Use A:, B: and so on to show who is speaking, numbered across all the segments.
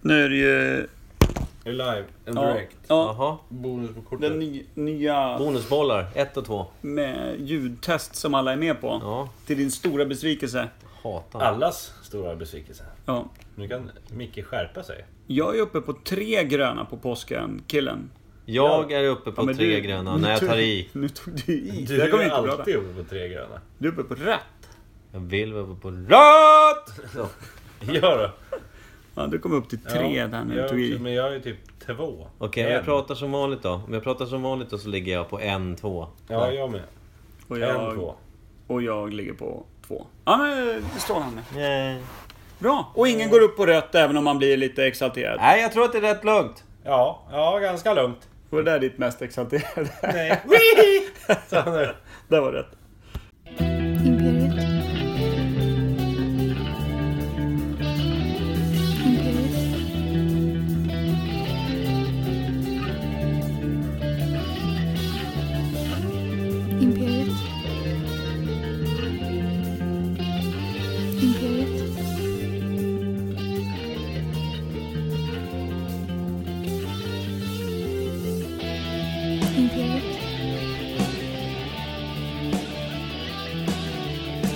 A: Nu är det ju...
B: Är live and
A: Ja,
B: direct.
A: ja
C: Jaha.
B: Bonus på kortet.
A: den ny, nya
C: Bonusbollar, ett och två.
A: med ljudtest som alla är med på.
C: Ja,
A: Till din stora besvikelse.
C: hatar han.
B: Allas stora besvikelse.
A: Ja.
B: Nu kan Micke skärpa sig.
A: Jag är uppe på tre gröna på påsken, killen.
C: Jag är uppe på
A: Ja, men
C: tre
A: du-
C: gröna
A: nu
C: när jag
A: tog-
C: tar i.
A: Nu tog du i.
B: Du
A: det här kommer
B: är
A: inte bli bra.
B: alltid uppe på tre gröna.
A: Du är uppe på rätt.
C: Jag vill vara uppe på rött! Så.
B: Ja då.
A: Ja, du kom upp till tre
B: ja,
A: där när du
B: jag
A: tog
B: också,
A: i.
B: Men jag är typ två.
C: Okej, om
B: En.
C: jag pratar som vanligt då. Om jag pratar som vanligt då så ligger jag på en, två.
B: Ja, jag med.
A: Och
B: En,
A: jag,
B: två.
A: och jag ligger på två. Ja, men eh, strålande.
C: Nej.
A: Bra. Och ingen går upp på rött även om man blir lite exalterad.
C: Nej, jag tror att det är rätt lugnt.
B: Ja, ja ganska lugnt.
A: Var det där ditt mest exalterade?
B: Nej. Så nu.
A: Det var rätt.
D: Imperiet. Imperiet. Imperiet. Imperiet. Imperiet.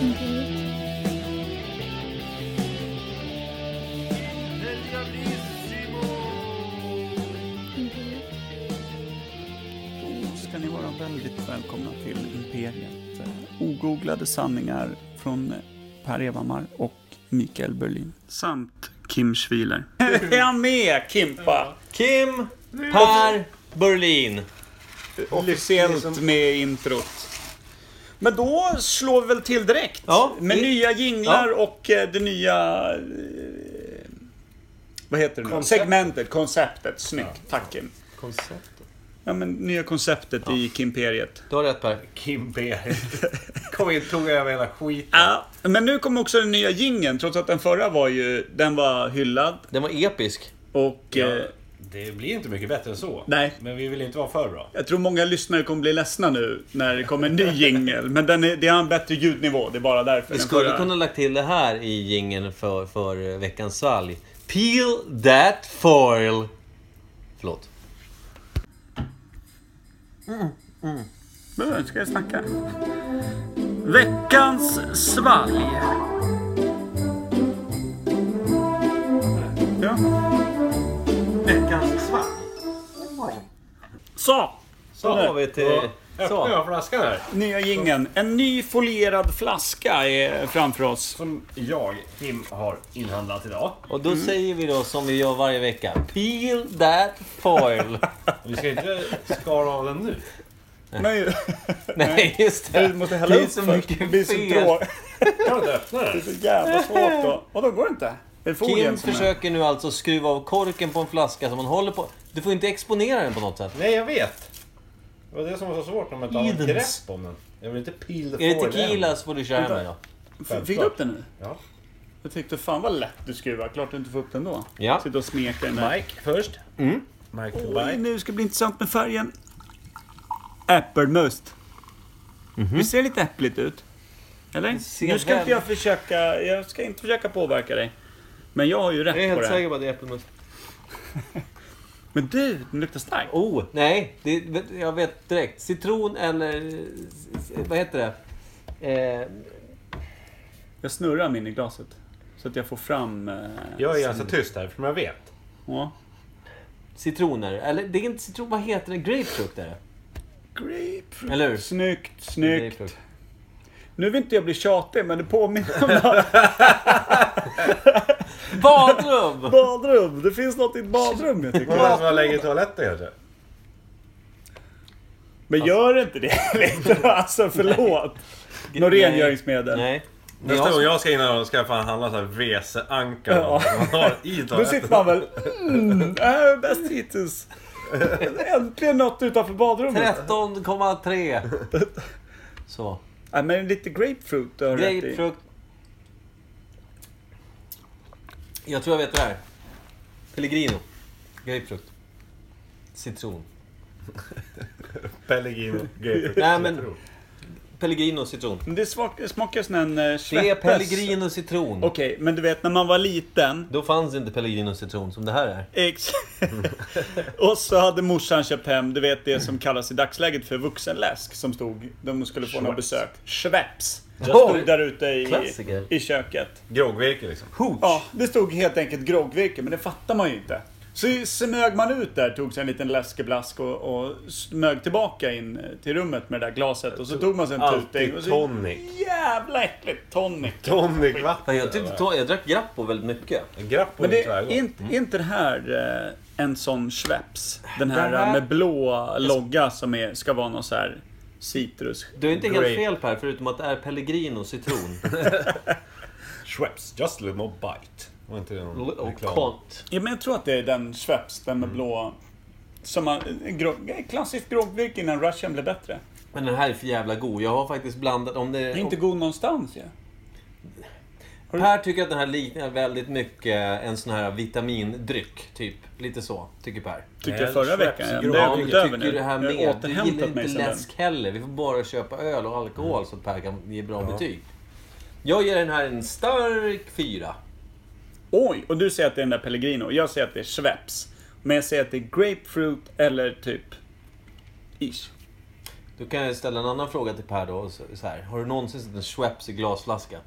D: Imperiet. Imperiet.
A: Då ska ni vara väldigt välkomna till Imperiet. Ogooglade sanningar från Per Evhammar och Mikael Berlin. Samt Kim Schwiler. Är han med Kimpa?
C: Kim Per Berlin.
A: Officiellt med i introt. Men då slår vi väl till direkt.
C: Ja,
A: med
C: vi-
A: nya jinglar och eh, det nya... eh, Vad heter det nu?
B: Koncept.
A: Segmentet, konceptet. Snyggt. Tack Kim.
C: Konceptet.
A: Ja, men nya konceptet i Kimperiet.
C: Du har rätt Per.
B: Kim B. Kom in, tog över hela skiten.
A: Ja, men nu kom också den nya jingeln trots att den förra var ju, den var hyllad
C: Den var episk.
A: och
B: Ja,
A: eh,
B: det blir inte mycket bättre än så.
A: Nej.
B: Men vi vill inte vara för bra.
A: jag tror många lyssnare kommer bli ledsna nu när det kommer en ny jingel. Men den är, det har en bättre ljudnivå, det är bara därför.
C: Vi
A: Den
C: skulle
A: förra-
C: kunna lagt till det här i jingeln för, för veckans svalg. Peel that foil. Förlåt.
A: Nu ska jag snacka. Veckans svalg. Ja.
B: Veckans svart.
A: Så!
C: Så har vi till...
B: Öppnar
C: Så.
B: jag flaskan här.
A: Nya jingeln. En ny folierad flaska är framför oss.
B: Som jag, Kim, har inhandlat idag.
C: Och
A: Mm.
C: då säger vi då som vi gör varje vecka. Peel that foil.
B: Vi ska inte skala av den nu.
A: Nej,
C: Nej, just det.
A: vi måste hälla
C: det är
A: upp
C: så
A: först. Det
C: mycket
A: blir så
C: fel.
A: tråkigt.
B: Kan du inte öppna den?
A: Det är så jävla svårt då. Och då går det inte. Det är folien
C: Kim
A: som är.
C: försöker nu alltså skruva av korken på en flaska som man håller på. Du får inte exponera den på något sätt.
B: Nej, jag vet. Det var det som var så svårt när man inte har något grepp
C: Edens.
B: om den. Jag vill inte peel the
C: Är det
B: foil
C: tequila
B: än.
C: så får du köra med då.
A: F- Fick du upp den nu?
B: Ja.
A: Jag tyckte fan vad lätt du skruvar. Klart du inte får upp den då.
C: Ja.
A: Sitta och smeka den där.
B: Mike först. Mike to
A: Oj,
B: bike.
A: nu ska det bli intressant med färgen. Äppelmust. Det ser lite äppligt ut. Eller?
C: Mhm. ser
A: Nu ska inte
C: väl-
A: jag försöka... Jag ska inte försöka påverka dig. Men jag har ju rätt
C: Jag är
A: på
C: helt
A: det. här.
C: säker på att det är äppelmust.
A: Men du, den luktar starkt.
C: Oh, nej. Det, vet- jag vet direkt. Citron eller... s- Vad heter det? Eh,
A: Jag snurrar min i glaset. Så att jag får fram... Eh,
B: Jag är ganska tyst här, för jag vet.
A: ja.
C: citroner. Eller det är inte citron. Vad heter det? Grapefrukt är det.
A: Grapefruit.
C: Eller hur?
A: Snyggt, snyggt.
C: Grapefrukt.
A: Nu vill inte jag bli tjatig, men det påminner om det här
C: Badrum!
A: badrum. Det finns något i ett badrum, jag
B: Var det den
A: tycker.
B: som var lägger i toaletten kanske?
A: Men gör inte det, Viktor. Alltså, förlåt. Något
C: Nej.
A: rengöringsmedel.
C: Nej. Men
B: Nästa gång
C: jag,
B: jag ska in här då ska jag fan handla så här WC-anka.
A: Ja.
B: Man har i
A: Då sitter
B: toaletten.
A: man väl... Mm, det här är bäst hittills. Äntligen något utanför badrummet.
C: 13,3. Så.
A: Nej, men lite grapefruit du har du rätt i.
C: Grapefrukt. Jag tror jag vet det här. Pellegrino. Grapefrukt. Citron.
B: Pellegrino. grapefruit,
C: Nej, men-
B: citron.
C: Pellegrino citron.
A: Men det smak, smakar som en eh,
C: Det är
A: Sveppes.
C: Pellegrino citron.
A: Okej, men du vet när man var liten.
C: Då fanns inte Pellegrino citron som det här är.
A: Ex- och så hade morsan köpt hem, du vet det som kallas i dagsläget för vuxenläsk som stod, de skulle få några besök. Schweppes. Det
C: Oh!
A: stod där ute i,
C: Klassiker.
A: i köket.
B: Groggvirke liksom.
C: Hooch!
A: Ja, det stod helt enkelt groggvirke, men det fattar man ju inte. Så smög man ut där, tog sig en liten läskeblask och, och smög tillbaka in till rummet med det där glaset. Och så tog man sig en tuting. och
B: Alltid
A: så-
B: tonic.
A: Jävla äckligt! Tonic.
B: Tonicvatten.
C: Fan, jag, tyckte, to- jag drack Grappo väldigt mycket.
B: Grapp och
A: Men det,
B: lite
A: är,
B: tvärgott.
A: inte, är inte det här eh, en sån Schweppes? Den här,
C: Det här-
A: eh, med blå logga som är, ska vara någon så här citrus.
C: Du är inte
B: Grape.
C: helt fel Per, förutom att det är Pellegrino citron.
B: Schweppes, just a little more bite. Var inte det någon
C: och
B: reklam?
C: kont.
A: Ja, men jag tror att det är den Schweppes, den med blå. Som man, gro, klassiskt groggvirke innan Russian blev bättre.
C: Men den här är för jävla god. Jag har faktiskt blandat om det...
A: Det är inte god någonstans ju.
C: Per tycker att den här liknar väldigt mycket en sån här vitamindryck, typ. Lite så, tycker Per.
A: Tyckte
B: Nej,
A: jag förra
B: Schweppes
A: veckan.
B: är
A: Ja,
B: grov.
A: Det har
C: Ja,
A: jag
C: men
A: gått
C: jag
A: över nu.
C: tycker det här
A: Jag
C: med.
A: har
C: Du gillar
A: återhämtat
C: inte
A: mig sen Mm. den.
C: läsk heller. Vi får bara köpa öl och alkohol så att Per kan ge bra betyg. Jag ger den här en stark fyra.
A: Oj, och du säger att det är den där Pellegrino. Jag säger att det är Schweppes. Men jag säger att det är grapefruit eller typ... Ish.
C: Då kan jag ställa en annan fråga till Per då. Så så här. Har du någonsin sett en Schweppes i glasflaska?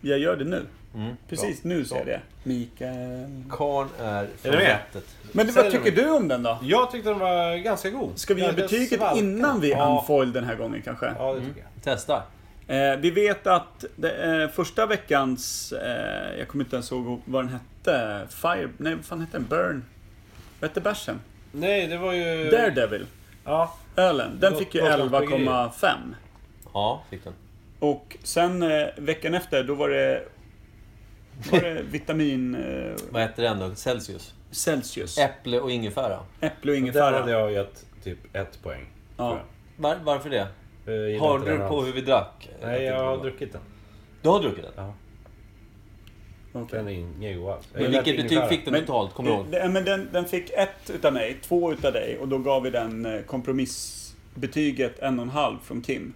A: Jag gör det nu.
B: Mm.
A: Precis nu ser jag det. Mikael.
C: Karn är från
B: du med?
C: vettet.
A: Men du, vad tycker du om den då?
B: Jag tyckte den var ganska god.
A: Ska vi ge
B: Ganska
A: betyget
B: svalkande.
A: innan vi
B: ja.
A: unfoil den här gången kanske?
B: Ja, det tycker jag.
C: Testa.
A: Eh, vi vet att det, eh, första veckans, eh, jag kommer inte ens ihåg vad den hette, Fire, nej vad fan hette den? Burn? Vad hette bärsen?
B: Nej, det var ju...
A: Daredevil,
B: Ja.
A: ölen. Den
B: Eh, Gott-
A: fick ju
B: gott
A: 11,5.
C: Ja, fick den.
A: Och sen eh, veckan efter, då var det, var det vitamin eh,
C: Vad heter den då? Celsius?
A: Celsius.
C: Äpple och ingefära.
A: Äpple och
B: Där hade
A: ingefära.
B: jag gett typ ett poäng.
A: Ja.
C: Var, varför det?
B: tror jag. Jag gillar
C: Har
B: inte
C: du
B: den
C: på
B: alls.
C: hur vi drack?
B: Nej, jag har druckit den.
C: Du har druckit den?
A: okej.
B: Den är ingen god alls. Jag
C: Men
B: gillar
C: vilket
B: inte
C: betyg
B: ingefära.
C: fick den
A: Men-
C: totalt? Kommer du ihåg?
A: Det- det- men den, den fick ett utav mig, två utav dig och då gav vi den eh, kompromissbetyget en och en halv från Kim.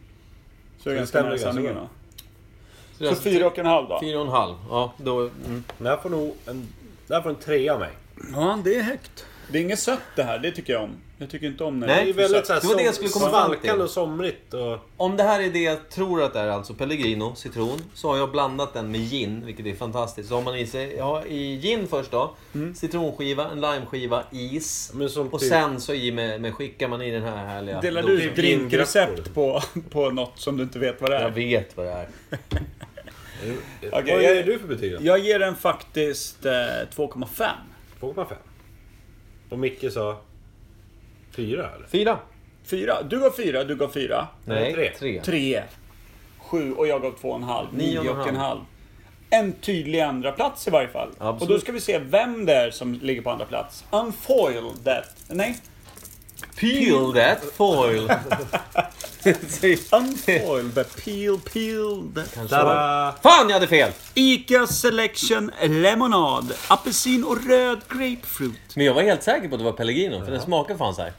A: Så det är
B: Det
A: ganska
B: stämmer
A: nära
B: ganska
A: sanningen
B: bra.
A: va? Så fyra och en halv då?
C: Fyra och en halv. Ja, då... Mm.
B: Den här får nog en... Den här får en trea av mig.
A: Ja, det är högt. Det är inget sött det här, det tycker jag om. Jag tycker inte om när
C: Nej,
B: Det är
A: är för
B: väldigt
A: sött.
B: såhär
C: Det var det jag skulle komma fram till.
B: svalkande och somrigt och...
C: Om det här är det jag tror att det är, alltså Pellegrino, citron, så har jag blandat den med gin, vilket är fantastiskt. Så har man i sig, jag har i gin först då, citronskiva, en limeskiva, is.
B: Men som
C: och
B: typ-
C: sen så i med, med skickar man i den här härliga...
A: Delar du
C: dosen.
A: ut drinkrecept på, på något som du inte vet vad det
C: Jag
A: är?
C: vet vad det är.
B: Vad
A: jag-
B: ger du för betyg då?
A: Jag ger den faktiskt eh, 2,5.
B: 2,5. Och Micke sa... Fyra eller?
C: Fyra?
A: Fyra. Du gav fyra, du gav fyra.
C: Nej,
B: tre.
C: tre.
A: Tre, sju och jag gav två och en halv.
C: Nio
A: Nio
C: och en
A: och en
C: halv.
A: halv. En tydlig andra plats i varje fall.
C: Absolut.
A: Och då ska vi se vem det är som ligger på andra plats. Unfoil that. Nej.
C: Peel that foil!
A: Unfoil that. Peel, peel that.
B: Tada!
C: Fan, jag hade fel!
A: Ica Selection Lemonad. Apelsin och röd grapefruit.
C: Men jag var helt säker på att det var Pellegrino, för den smakar fan så här.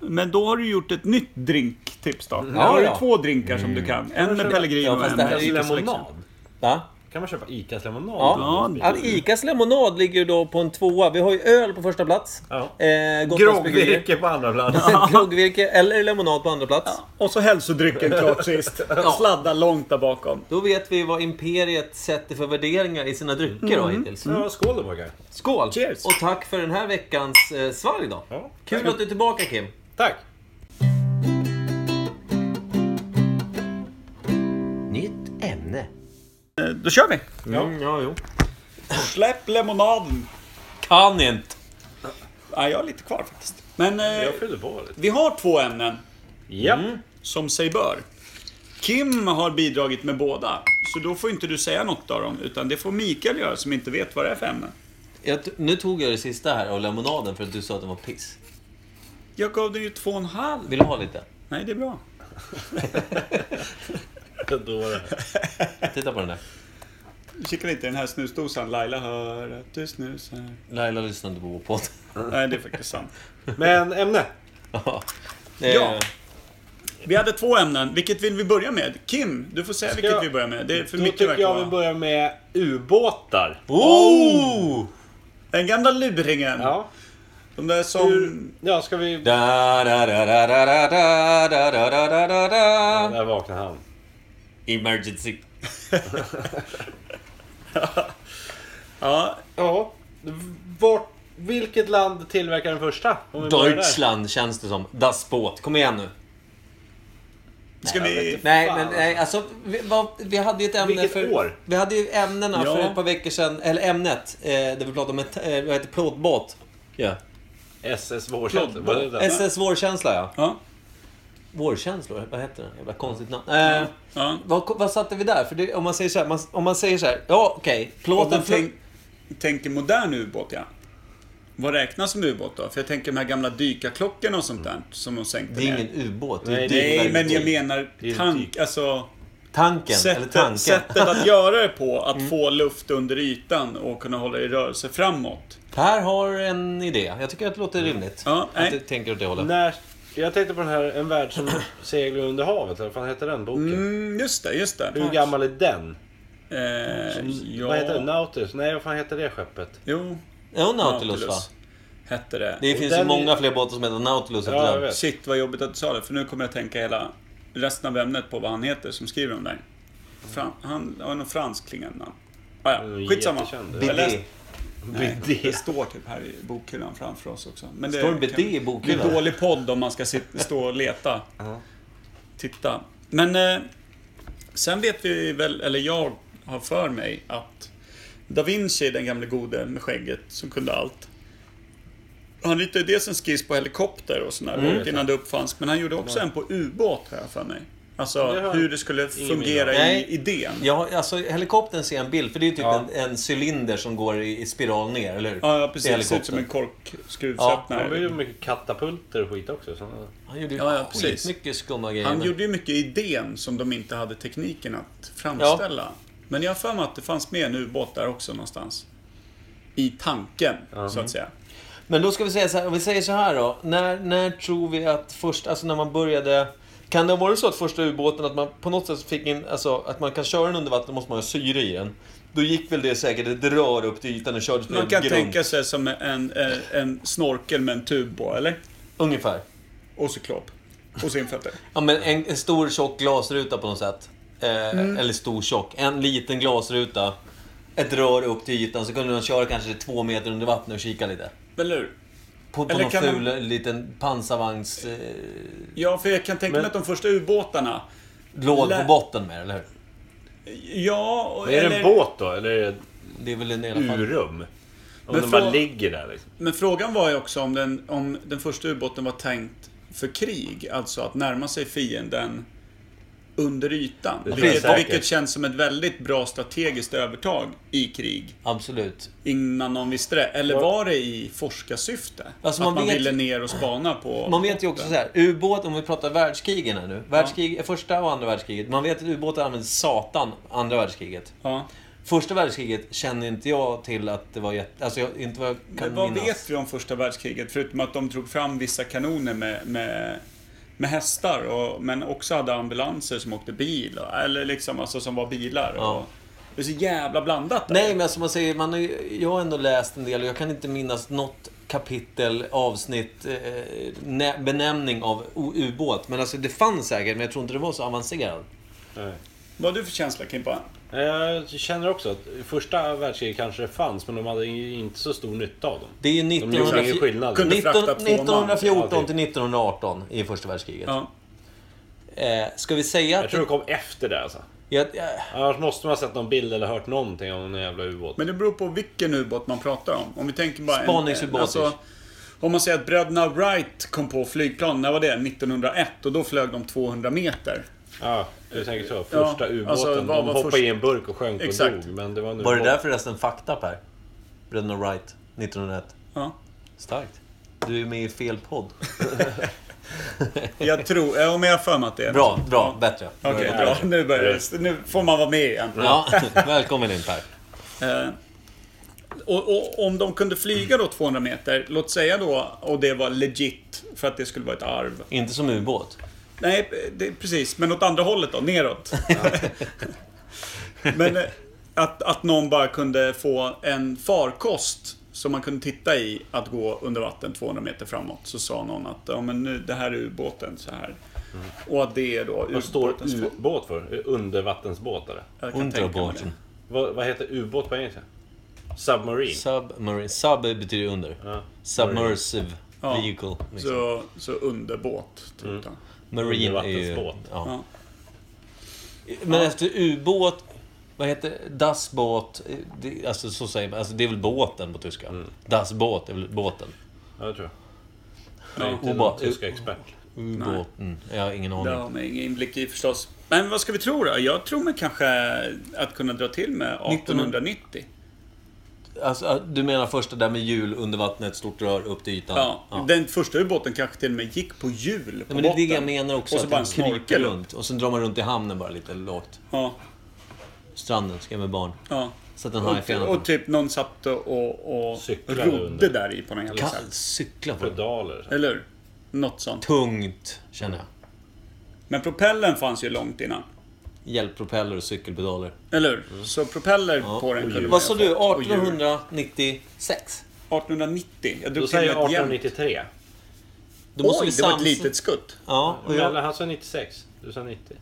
A: Men då har du gjort ett nytt drinktips då. Ja,
C: Ja,
A: har du
C: ja. Mm.
A: två drinkar som du kan. En med Pellegrino
C: Ja,
A: och
C: fast
A: en
C: det här är
A: med
C: ju
A: Ica Selection.
B: Lemonad?
C: Va?
B: Kan man köpa ICAs lemonad?
C: Ja.
A: Ja,
C: Att ICAs lemonad ligger då på en tvåa. Vi har ju öl på första plats.
B: Ja.
C: Eh, Gotlands Bryggeri.
B: Groggvirke på andra plats.
C: Groggvirke eller lemonad på andra plats.
A: Och så hälsodrycken klart sist. Sladda långt där bakom.
C: Då vet vi vad Imperiet sätter för värderingar i sina drycker då
B: Mm.
C: hittills.
B: Ja, skål då pojkar.
C: Skål!
A: Cheers.
C: Och tack för den här veckans eh, svalg då.
B: Ja.
C: Kul att du är tillbaka Kim.
B: Tack!
C: Nytt ämne.
A: Eh, Då kör vi!
C: Ja, mm, ja jo.
A: Släpp lemonaden!
C: Kan inte!
A: Ja, jag har lite kvar faktiskt. Men eh,
B: Jag fyllde på lite.
A: vi har två ämnen
B: Ja.
E: Mm.
A: som sig bör. Kim har bidragit med båda, så då får inte du säga något av dem, utan det får Mikael göra som inte vet vad det är för ämnen.
C: Jag t- nu tog jag det sista här av lemonaden för att du sa att den var piss.
A: Jag gav dig ju två och en halv.
C: Vill du ha lite?
A: Nej, det är bra.
B: Då var det.
C: Titta på den där.
A: Kika lite i den här snusdosan. Laila hör att du snusar.
C: Laila lyssnar inte på vår podd.
A: Nej, det är faktiskt sant.
B: Men ämne.
C: ja.
A: Ja.
C: Eh,
A: Vi hade två ämnen. Vilket vill vi börja med? Kim, du får säga vilket
E: jag-
A: vi börjar med. Det är för
E: Då
A: mycket
E: tycker
A: verkar
E: jag
A: vara.
E: vi börjar med ubåtar.
A: Oh! Den gamla luringen.
E: Ja.
A: De där som...
E: Hur, ja, ska vi...
C: Da,
E: Där,
C: da, da, da, da, da, da, da, da, da, da, da, da.
E: där vaknade han.
C: Emergency.
A: Ja,
E: Ja. Vart, vilket land tillverkar den första? Om vi börjar där.
C: Deutschland känns det som. Das Boot. Kom igen nu.
A: ska vi...
C: Nej,
E: Fan,
C: men nej, alltså, vi, vad, vi hade ju ett ämne
E: Vilket
C: för...
E: år?
C: Vi hade ju ämnena
A: Ja.
C: för ett par veckor sedan, eller ämnet, eh, där vi pratade om ett, eh, vad heter plåtbåt. Ja.
E: SS Vårkänsla.
A: Plåtbåt.
E: var det det?
C: SS Vårkänsla, ja.
A: Ja.
C: Vårkänslor, vad heter det? Jävla konstigt namn. Eh,
A: ja.
C: vad, vad satte vi där? För det, om man säger så här, man, om man säger så här, ja okej,
A: Om
C: plåten...
A: man tänk, tänker modern ubåt, ja. Vad räknas som ubåt då? För jag tänker de här gamla dykarklockorna och sånt där som de sänkte
C: det är
A: ner.
C: ingen ubåt, det är
E: Nej,
C: ju
A: Nej,
C: dykverktyg.
A: men jag menar
E: Det är en
A: tank,
E: dyk.
A: alltså...
C: Tanken, eller tanken.
A: Sättet, sättet att göra det på, att
E: Mm.
A: få luft under ytan och kunna hålla det i rörelse framåt.
C: Per har en idé. Jag tycker att det låter rimligt.
A: Mm. Ja, nej.
C: att du tänker åt det hållet.
E: När, jag tänkte på den här En värld som seglar under havet. Eller vad fan heter den boken?
A: Mm, just det, just det.
E: Hur gammal är den?
A: Eh, ja.
E: Vad heter den? Nautilus? Nej, vad fan heter det skeppet?
A: Jo,
C: Ja, Nautilus, va?
A: Hette det.
C: Det finns ju
E: den-
C: många fler båtar som heter Nautilus efter
E: Ja, jag
C: den.
E: vet.
A: Shit vad jobbigt att du sa det, för nu kommer jag tänka hela resten av ämnet på vad han heter som skriver om det här. Fran, han har någon fransk klingande namn. Ah,
E: Mm,
A: ja, skitsamma.
E: jättekänd.
A: Jag läste-
C: Bidé.
A: Nej, Det står typ här i bokhyllan framför oss också. Men
C: Står det
A: kan-
C: bidé i bokhyllan?
A: Det är dålig podd om man ska sit, stå och leta. Titta. Men eh, sen vet vi väl, eller jag har för mig att Da Vinci, den gamle gode med skägget som kunde allt. Han ritade ju dels en skiss på helikopter och sådär
C: Mm.
A: långt innan det uppfanns. Men han gjorde också en på ubåt har jag för mig. Alltså
E: Det har
A: hur det skulle
E: ingen
A: fungera
C: minne av.
A: i
C: Nej.
A: idén.
C: Ja, alltså helikoptern ser jag en bild, för det är ju typ
E: Ja.
C: en, en cylinder som går i, i spiral ner, eller hur?
A: Ja, ja
C: Det är
A: precis. Det ser ut som en
C: helikoptern.
A: korkskruvsöppnare.
E: Det var ju mycket katapulter och skit också. Så.
C: Han gjorde ju
A: Ja, ja, precis.
C: precis. mycket skumma grejer.
A: Han
C: men-
A: gjorde ju mycket idén som de inte hade tekniken att framställa. Men jag har för mig att det fanns med en ubåt där också någonstans. I tanken, så att säga.
E: Mm.
C: Men då ska vi säga så här, om vi säger så här då. När, när tror vi att först, alltså när man började... Kan det ha varit så att första ubåten, att man på något sätt fick in, alltså att man kan köra den under vatten, då måste man ha syre i den. Då gick väl det säkert ett rör upp till ytan och kördes på
A: Man
C: en
A: kan
C: grund.
A: tänka sig som en, en, en snorkel med en tub på, eller?
C: Ungefär.
A: Och så klopp. Och simfötter.
C: Ja, men en, en stor tjock glasruta på något sätt. Eh, Eller stor tjock. En liten glasruta. Ett rör upp till ytan så kunde de köra kanske två meter under vattnet och kika lite.
A: Eller hur?
C: På, på
A: Eller
C: någon
A: kan
C: ful liten pansarvagns... Eh,
A: Ja, för jag kan tänka mig
E: Men-
A: att de första ubåtarna...
C: låg
A: Lä-
C: på botten med eller hur?
A: Ja, och-
E: Men är det en
A: eller-
E: båt då? Eller är
C: Det är väl en i
E: det
A: Mm.
C: alla
E: ett
C: fall.
E: urum? Om
A: Men
E: den bara
A: från-
E: ligger där liksom.
A: Men frågan var ju också om den, om den första ubåten var tänkt för krig, alltså att närma sig fienden under ytan.
E: tror jag
A: Vilket,
E: säkert.
A: vilket känns som ett väldigt bra strategiskt övertag i krig,
C: Absolut.
A: innan någon visste det. Eller var det i forskarsyfte?
C: Alltså,
A: att
C: man
A: man
C: vet-
A: ville ner och spana på...
C: Man vet ju också så här, ubåt, om vi pratar världskrigen här nu. Världskrig, eh, Första och andra världskriget. Man vet att ubåtar använde satan andra världskriget.
A: Ja.
C: Första världskriget känner inte jag till att det var jätte... Alltså jag, inte vad jag kan
A: Men vad
C: minnas.
A: vet vi om första världskriget? Förutom att de drog fram vissa kanoner med, med, med hästar, och, men också hade ambulanser som åkte bil. och- Eller liksom, alltså som var bilar.
C: Ja.
A: Och, det är så jävla blandat där.
C: Nej, men som man säger, man har ju, jag har ändå läst en del och jag kan inte minnas något kapitel, avsnitt, eh, nä- benämning av o- ubåt. Men alltså det fanns säkert, men jag tror inte det var så avancerat.
E: Nej.
A: Vad har du för känsla Kimpa?
E: Jag känner också att i första världskriget kanske det fanns, men de hade ju inte så stor nytta av dem.
C: Det är ju
E: De gjorde ingen
C: 1914
E: skillnad.
A: Kunde- frakta två man.
C: 1914 till 1918 i första världskriget.
A: Ja.
C: Eh, ska vi säga
E: Jag
C: att...
E: tror det kom efter det alltså.
C: Jag, jag,
E: Annars måste man ha sett någon bild eller hört någonting om någon jävla ubåt.
A: Men det beror på vilken ubåt man pratar om. Om vi tänker bara... en- alltså,
C: Spaningsubåt.
A: om man säger att bröderna Wright kom på flygplan, när var det? 1901 och då flög de 200 meter.
E: Ja, du tänker så.
A: Ja,
E: Första ubåten.
A: alltså, vad
E: de
A: var
E: hoppade
A: först-
E: i en burk och sjönk
A: Exakt.
E: och dog. Men det var, en
C: var det
E: ubåt.
C: där förresten fakta Per? Bröderna Wright, 1901.
A: Ja.
C: Starkt. Du är med i fel podd.
A: Jag tror, ja, men jag har för mig att det är
C: Bra, bra, bättre.
A: Okej, bra. Nu börjar det. Nu får man vara med igen.
C: Ja, välkommen in Per.
A: Eh, och, och om de kunde flyga då 200 meter, låt säga då, och det var legit för att det skulle vara ett arv.
C: Inte som ubåt.
A: Nej, det, precis. Men åt andra hållet då, neråt. Men eh, att, att någon bara kunde få en farkost som man kunde titta i att gå under vatten 200 meter framåt. Så sa någon att ja, men nu, det här är ubåten så här. Och att det är då
B: Vad står
A: ubåtens fa-
B: ubåt för? Undervattensbåt eller?
A: Jag kan tänka mig det.
C: Underbåten.
B: Vad, vad heter ubåt på engelska? Submarine?
C: Submarine. Sub betyder under.
B: Ja.
C: Submersive
A: Ja.
C: vehicle. Liksom.
A: Så, så underbåt, typ då.
C: Marine är ju...
B: Undervattensbåt.
C: Ja.
A: Ja.
C: Men efter ubåt, vad heter dassbåt? eh, Det, alltså så säger man. Alltså det är väl båten på tyska. Dassbåt är väl båten.
B: Ja, det tror jag. Jag är inte någon
C: Ubåt.
B: tysk expert.
A: Mm.
C: Ubåten. Mm. Jag har ingen
A: Det
C: aning.
A: har man ingen inblick i förstås. Men vad ska vi tro då? Jag tror mig kanske att kunna dra till med 1890.
C: Alltså, ah, du menar första där med hjul under vattnet, stort rör upp till ytan?
A: Ja, Den första ubåten kanske till och med gick på hjul på
C: Nej, men det är
A: botten.
C: det jag menar också.
A: Och så
C: att
A: bara
C: den
A: en
C: kryper
A: snorkel upp.
C: runt. Och sen drar man runt i hamnen bara lite lågt.
A: Ja,
C: Stranden, ska jag med barn.
A: ja.
C: Sätt en haj i
A: Och,
C: fenan.
A: och typ någon satt och, och
B: Cyklade
A: rodde
B: under.
A: där i på någon jävla
C: Kan
A: sätt.
C: cykla på den.
B: Pedaler.
A: Eller hur? Något sånt.
C: Tungt, känner jag.
A: Men propellen fanns ju långt innan.
C: Hjälppropeller och cykelpedaler.
A: Eller hur?
C: Mm.
A: Så propeller på den kunde man
C: Vad
A: ju
C: sa
A: ha
C: du?
A: fått. Och hjul.
C: 1896?
A: 1890. Jag
B: Då
A: drog till
B: säger
A: med
B: jag
A: ett jämnt.
B: 1893.
C: Då måste
A: Oj,
C: vi
A: det var ett
C: sams-
A: litet skutt.
C: Ja, och
B: Men
C: jag
B: han sa 96. Du sa 90.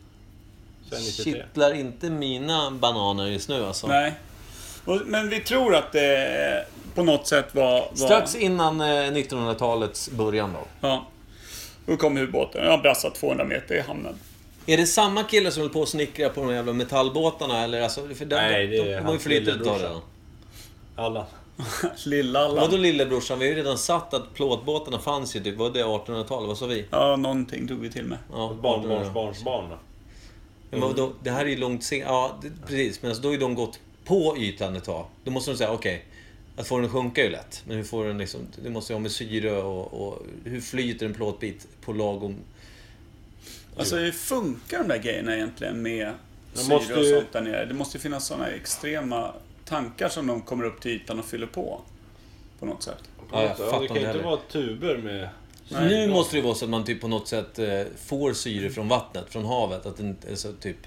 B: Så är 93.
C: kittlar inte mina bananer just nu alltså.
A: Nej. Och- Men vi tror att det eh, på något sätt var... var
C: Strax innan eh, 1900-talets början då.
A: Ja. Då kom ubåten. Den har brassat 200 meter i hamnen.
C: Är det samma kille som höll på att snickra på de jävla metallbåtarna eller? Alltså, för där,
B: Nej, det är
C: de, de har ju
B: hans
C: för lite
B: lillebrorsa.
C: utav det. då.
B: Allan.
A: Lilla-Allan.
C: Vadå lillebrorsan? Vi har ju redan satt att plåtbåtarna fanns ju typ, var det 1800-talet? Vad sa vi?
A: Ja, någonting tog vi till med.
C: Ja,
B: Barnbarnsbarnsbarn. då.
C: Men vadå, det här är ju långt sen... Ja, det, precis. Men alltså, då har ju de gått på ytan ett tag. Då måste de säga, okej. att få den att sjunka är ju lätt. Men hur får den liksom... Det måste ju ha med syre och, och... Hur flyter en plåtbit på lagom...
A: Alltså hur funkar de där grejerna egentligen med
B: De
A: syre
B: måste
A: och
B: ju-
A: sånt där nere? Det måste ju finnas sådana extrema tankar som de kommer upp till ytan och fyller på. På något sätt.
C: Ja, jag
B: Ja,
C: fattar
B: det
C: inte
B: kan ju inte
C: heller.
B: vara tuber med...
C: nu måste det ju vara så att man typ på något sätt eh, får syre från vattnet, från havet. Att den, alltså, typ,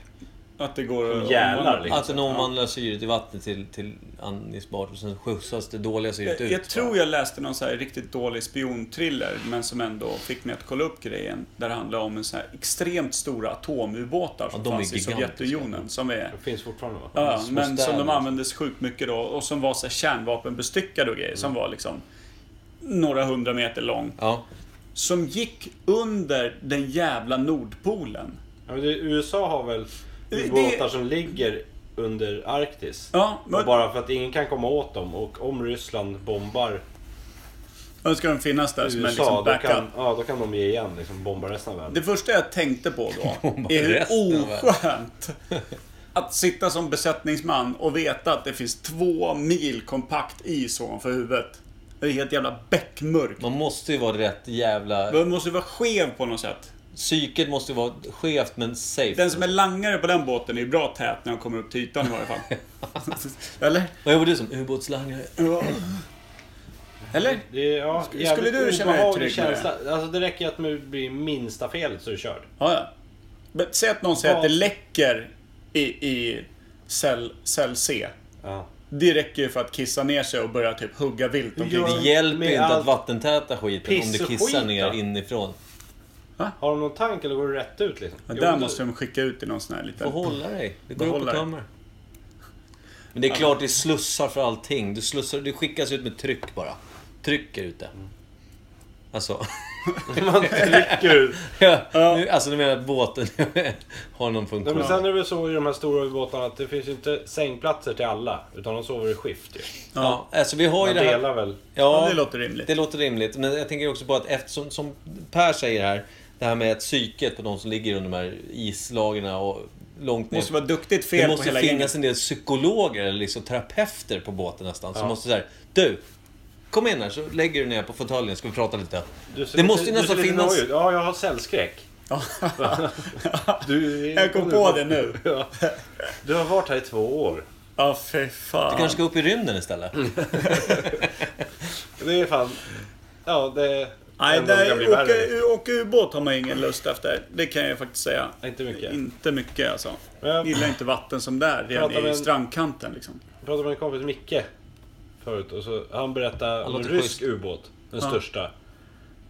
A: Att det går att...
B: Gälar
C: att
B: liksom.
C: den omvandlar syret i vattnet till, till andningsbart och sen skjutsas det dåliga syret
A: Jag,
C: ut.
A: jag tror jag läste någon så här riktigt dålig spionthriller, men som ändå fick mig att kolla upp grejen. Där det handlar om en så här extremt stora atomubåtar som
C: Ja, de är
A: fanns i
C: gigantiska.
A: Sovjetunionen. Som är
B: Det finns fortfarande va?
A: Ja,
C: små
A: men som
C: städer,
A: de
C: liksom.
A: användes sjukt mycket då och som var så här kärnvapenbestyckade och grejer som
C: Mm.
A: var liksom några hundra meter lång.
C: Ja.
A: Som gick under den jävla Nordpolen.
B: Ja, men det, USA har väl
A: Det-
B: ubåtar som ligger under Arktis?
A: Ja,
B: Och
A: men
B: bara för att ingen kan komma åt dem och om Ryssland bombar
A: då ska den finnas där som en
B: USA
A: liksom
B: då
A: backup.
B: kan, ja, då kan de ge igen liksom bomba resten av världen.
A: Det första jag tänkte på då
C: Bara
A: är hur
C: resten av världen.
A: oskönt att sitta som besättningsman och veta att det finns två mil kompakt is ovanför huvudet. Det är helt jävla bäckmörkt.
C: Man måste ju vara rätt jävla...
A: Man måste ju vara skev på något sätt.
C: Psyket måste ju vara skevt men safe.
A: Den som är langare på den båten är ju bra tät när de kommer upp till ytan i varje fall. Eller?
C: Vad gjorde du som ubåtslangare?
A: Eller?
B: Det, ja,
A: Skulle
B: jävligt
A: du känna dig
B: obehaglig
A: trygg med
B: känsla. Alltså det räcker ju att det blir minsta felet så är du körd.
A: Ja, ja. Men säg att någon säger att det läcker i, i cell, cell C.
B: Ja.
A: Det räcker ju för att kissa ner sig och börja typ hugga vilt omkring
B: Ja.
A: sig.
C: Det hjälper
B: Med
C: ju inte att
B: allt
C: vattentäta skiten
B: piss
C: om du
B: och
C: kissar
B: skit,
C: ner
B: då.
C: inifrån.
B: Har de någon tank eller går det rätt ut liksom?
A: Men
B: Jo,
A: där
B: men
A: måste
B: du-
A: de skicka ut i någon sån här
C: Du får
A: liten...
C: hålla dig. Det går upp
A: Behålla
C: och
A: dig.
C: tömmer. Men det är klart det är slussar för allting. Du, slussar, du skickas ut med tryck bara. Trycker ut det. Alltså,
B: Man trycker ut.
C: ja, nu, alltså du menar att båten har någon
B: Nej,
C: funktion?
B: men sen är det väl så i de här stora ubåtarna att det finns ju inte sängplatser till alla. Utan de sover i skift ju.
C: ja, alltså vi har ju
B: Man
C: det här...
B: delar väl.
A: Ja,
C: Ja,
A: det låter rimligt.
C: Det låter rimligt. Men jag tänker också på att eftersom, som Per säger här, det här med att psyket på de som ligger under de här islagren och långt
A: Det
C: ner.
A: måste vara duktigt
C: det
A: fel på
C: måste
A: hela
C: finnas
A: gänget.
C: en del psykologer eller liksom terapeuter på båten nästan. Som
B: Ja.
C: måste säga Du, kom in här så lägger du ner på fåtöljen ska vi prata lite.
B: Du ser
C: Det måste
B: lite-
C: ju
B: du
C: nästan
B: ser lite
C: finnas-
B: nojig ut. Ja, jag har cellskräck. Du,
A: Jag kom på det nu.
B: Ja. Du har varit här i två år.
A: Ja, fy
C: Du
A: fan.
C: kanske
B: Mm.
C: ska upp i rymden istället?
B: Det är fan... Ja, det...
A: Nej,
F: Även om det
A: nej
F: blir
A: åka,
F: värre.
A: åka ubåt har man ingen lust efter. Det kan jag faktiskt säga.
B: Inte mycket.
A: Inte mycket alltså.
B: Men jag-
A: Gillar inte vatten som där, redan
B: Pratar med
A: i
B: en-
A: strandkanten liksom.
B: Jag pratade med en kompis, Micke, förut. Och så, han berättade om en
C: låter
B: rysk
C: schysst.
B: ubåt. Den största.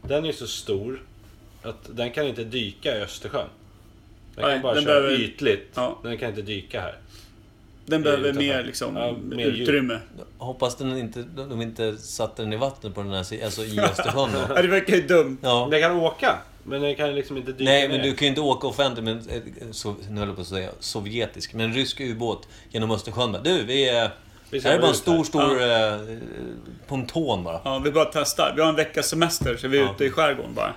B: Den är ju så stor att den kan inte dyka i Östersjön. Den
A: Nej,
B: kan bara
A: den
B: köra
A: behöver-
B: ytligt.
A: Ja.
B: Den kan inte dyka här.
A: Den behöver
B: utanför.
A: mer liksom
B: Ja, mer djup.
A: utrymme.
C: Hoppas den inte, de inte satte den i vattnet på den här sidan, alltså i Östersjön då.
A: Ja, det verkar ju dumt.
C: Ja.
B: Den kan åka, men den kan liksom inte dyka
C: Nej, men
B: ner.
C: du kan ju inte åka offentligt med en, eh, so, nu höll jag på att säga sovjetisk, men en rysk ubåt genom Östersjön. bara, Du, vi är...
B: Vi
C: Det här är bara en
B: ut här.
C: stor, stor eh, ponton bara.
A: Ja, vi bara testar. Vi har en veckas semester så vi är ute i skärgården bara.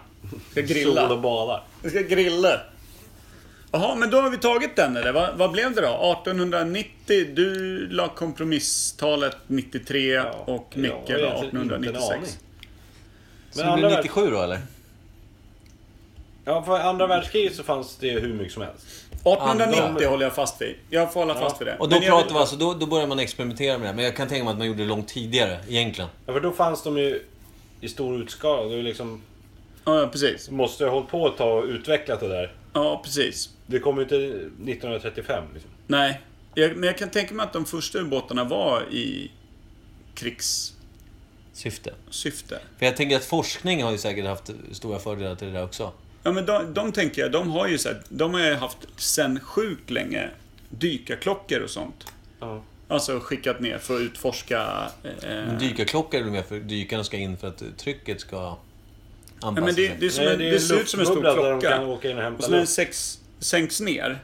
A: Ska
B: Sol och
A: grilla.
B: badar.
A: Vi ska grilla. Jaha, men då har vi tagit den eller? Vad, vad blev det då? 1890, du la kompromisstalet 93 och Micke
B: jag har
A: la
B: egentligen inte en
A: 1896.
B: aning.
C: Så
B: Men
C: det blir
B: andra, världs-
C: 97 då eller?
B: ja, för andra världskriget så fanns det hur mycket som helst.
A: 1890
C: Andra-
A: håller jag fast vid. Jag får hålla fast vid det.
C: Och då
A: Men jag
C: pratar vi alltså, då, då börjar man experimentera med det. Men jag kan tänka mig att man gjorde det långt tidigare egentligen.
B: Ja, för då fanns de ju i stor utskala. Det var ju liksom,
A: Ja, ja, precis.
B: måste jag ha hållit på ett tag och utvecklat det där.
A: Ja, precis.
B: Det kom ju inte 1935. Liksom.
A: Nej. Jag, men jag kan tänka mig att de första ubåtarna var i krigssyfte.
C: Syfte. För jag tänker att forskning har ju säkert haft stora fördelar till det där också.
A: Ja, men de, de tänker jag, de har ju så här, de har ju haft sen sjukt länge dykarklockor och sånt.
B: Ja.
A: Alltså skickat ner för att utforska... Eh,
C: Men Dykarklockor är väl mer för dykarna ska in för att trycket ska anpassa
A: ja, men det,
C: sig.
A: det, är som
B: Nej,
A: en,
B: det är
A: det,
B: en
A: ser ut som en stor
B: luftbubbla där
A: klocka.
B: de kan åka in och hämta
A: så när den
B: luft.
A: sex, sänks ner,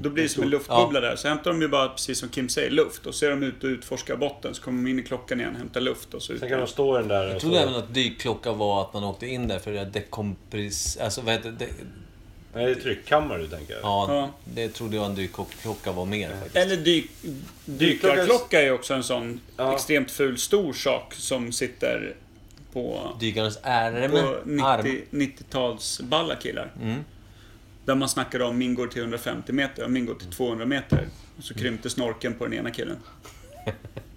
A: då blir det som en luftbubbla där. Så hämtar de ju bara, precis som Kim säger, luft. Och så är de ute och utforskar botten, så kommer de in i klockan igen, hämtar luft och så ut.
B: Sen kan de stå i den där och
C: Jag trodde även
B: så...
C: att dykklocka var att man åkte in där för att dekompris... Alltså vad heter det?
B: Nej, det är tryckkammare du tänker.
C: Ja,
A: Ja.
C: det trodde jag en dykklocka var mer faktiskt.
A: Eller dyk, dykarklocka är ju också en sån
B: Ja.
A: extremt ful stor sak som sitter på...
C: Dykarens ärme,
A: på
C: arm. Mm.
A: 90 90-tals balla killar. Där man snackade om min går till 150 meter och min går till 200 meter. Och
C: Mm.
A: så krympte snorken på den ena killen.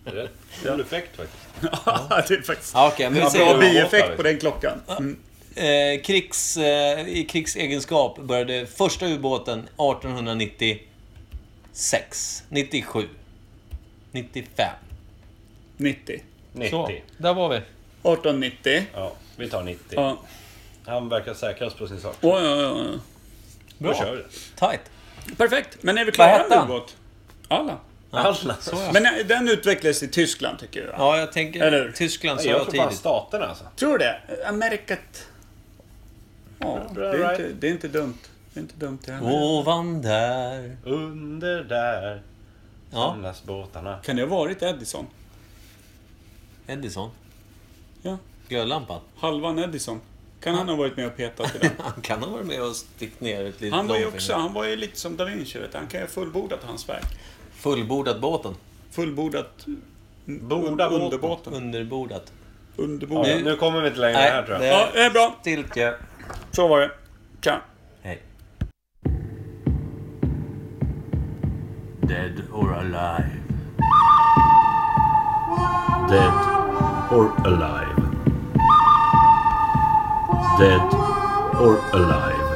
B: Det är rätt cool effekt faktiskt.
A: Ja, det är faktiskt
C: Ja, okej, men vi
A: en
C: säger
A: bra
C: det.
A: bieffekt på den klockan. Mm.
C: Eh, krigs, eh, I krigsegenskap började första ubåten 1896. 97. 95.
A: 90.
B: 90.
C: Så, där var vi.
A: 1890.
B: Ja, vi tar 90.
A: Ja.
B: Han verkar säkrast på sin sak.
A: Oj, oj, oj,
B: Då kör vi.
C: Tight.
A: oj. Perfekt. Men är vi klara
C: hette
A: med
C: han?
A: ubåt? Alla.
B: Alla.
A: Men eh, den utvecklades i Tyskland tycker jag.
C: Ja, jag tänker
A: Eller hur?
C: Tyskland
B: Nej,
C: sa
B: Jag
C: jag
B: tror fan
C: tidigt.
B: staterna alltså.
A: Tror det. Eh, Amerikat. Ja, det är, inte, det är inte dumt. Det är inte dumt det här.
C: Ovan där.
B: Under där
C: Ja,
B: samlas båtarna.
A: Kan det ha varit Edison?
C: Edison.
A: Ja.
C: Glödlampan.
A: Halvan Edison. Kan han ha varit med och petat i den?
C: Han kan ha varit med och stickt ner ett litet
A: Han var ju
C: långfinger.
A: också, han var ju lite som Da Vinci vet du. Han kan ju ha fullbordat hans verk.
C: Fullbordat båten.
A: Fullbordat...
B: Borda båten.
A: Underbåten.
C: Underbordat.
B: Ja,
A: Underbordat.
B: ja, nu kommer vi inte längre
C: Nej,
B: här tror jag.
A: Ja, det är bra.
C: Stiltje.
A: Så var det. Tja.
C: Hej. Dead or alive.
B: Dead or alive. Dead or alive.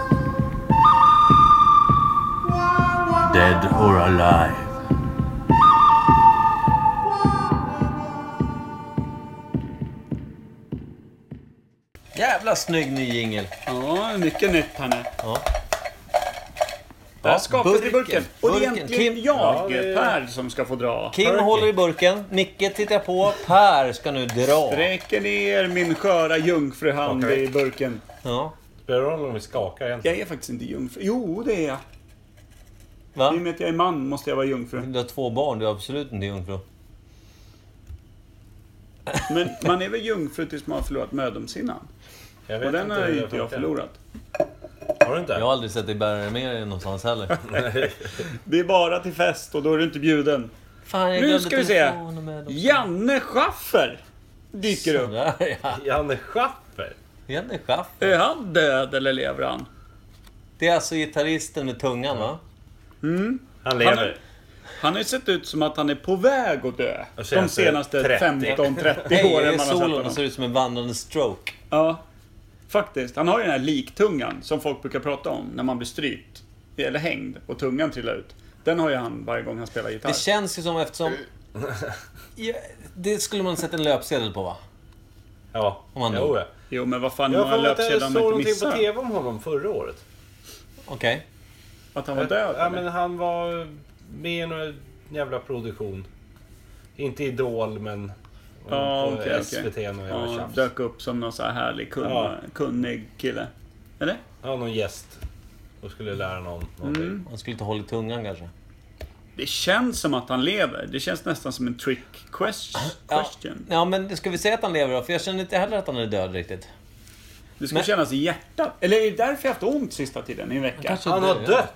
C: Dead or alive. Jävla snygg ny jingel.
A: Ja, mycket nytt här nu.
C: Ja.
A: Där skapas det i
C: burken.
A: burken. Och det är
C: Burken.
A: egentligen
C: Kim-
A: jag,
B: Ja, det-
A: Per, som ska få dra.
C: Kim håller i burken, Micke tittar på, Per ska nu dra.
A: Sträcker ner min sköra jungfruhand
B: Okej.
A: i burken.
C: Ja.
B: Spelar det roll om vi skakar egentligen?
A: Jag är faktiskt inte jungfru. Jo, det är jag.
C: Va?
A: I och med att jag är man måste jag vara
B: Mm.
A: jungfru.
C: Du har två barn, du är absolut inte jungfru.
A: Men man är väl jungfru tills man har förlorat mödomshinnan.
B: Jag vet
A: Och den
B: inte
A: har
B: hur
A: ju
B: det
A: inte jag
B: funkar.
A: förlorat.
B: Har du inte?
C: Jag har aldrig sett dig bära dig med dig någonstans heller.
A: Det är bara till fest och då är du inte bjuden.
C: Fan, jag
A: Nu
C: glömde
A: ska vi se.
C: telefonen med dem.
A: Janne Schaffer dyker upp.
C: Sådär ja.
B: Janne Schaffer?
C: Jenny Schaffer.
A: Är han död eller lever han?
C: Det är alltså gitarristen med tungan va?
B: Han
A: Han,
B: lever.
A: är, han har ju sett ut som att han är på väg att dö.
B: Och
A: De
B: senaste
A: senaste
B: 30.
A: 15-30
C: Hej,
A: åren
C: det är
A: man har sett
C: solon och ser
A: honom.
C: ut som en vandrande stroke.
A: Ja. Faktiskt. Han har ju den här liktungan som folk brukar prata om när man blir strypt. Eller hängd och tungan trillar ut. Den har ju han varje gång han spelar gitarr.
C: Det känns ju som eftersom... Ja, det skulle man sätta en löpsedel på va?
E: Ja,
C: Om man
E: jo,
C: då-
E: ja.
A: Jo men vad fan, hur
E: Jag
A: många
E: har att jag
A: löpsedlar har
E: såg
A: man inte
E: någonting på
A: missat?
E: TV om honom förra året.
C: Okej.
A: Att han var död?
E: Ja,
A: eller?
E: men han var med i någon jävla produktion. Inte Idol, men...
A: Ja,
E: på
A: okej,
E: SVT
A: okej.
E: och
A: Ja,
E: jävla tjafs.
A: dök upp som någon så här härlig, kun,
E: Ja.
A: kunnig kille. Eller?
E: Han var någon gäst och skulle lära någon någonting.
A: Mm.
C: Man skulle ta håll i tungan kanske.
A: Det känns som att han lever. Det känns nästan som en trick quest-
C: Ja,
A: question.
C: ja, men ska vi säga att han lever då? För jag känner inte heller att han är död riktigt.
A: Det ska
C: Men-
A: kännas i hjärtat. Eller är det därför jag haft ont sista tiden i en vecka?
C: kanske-
E: Han har dött!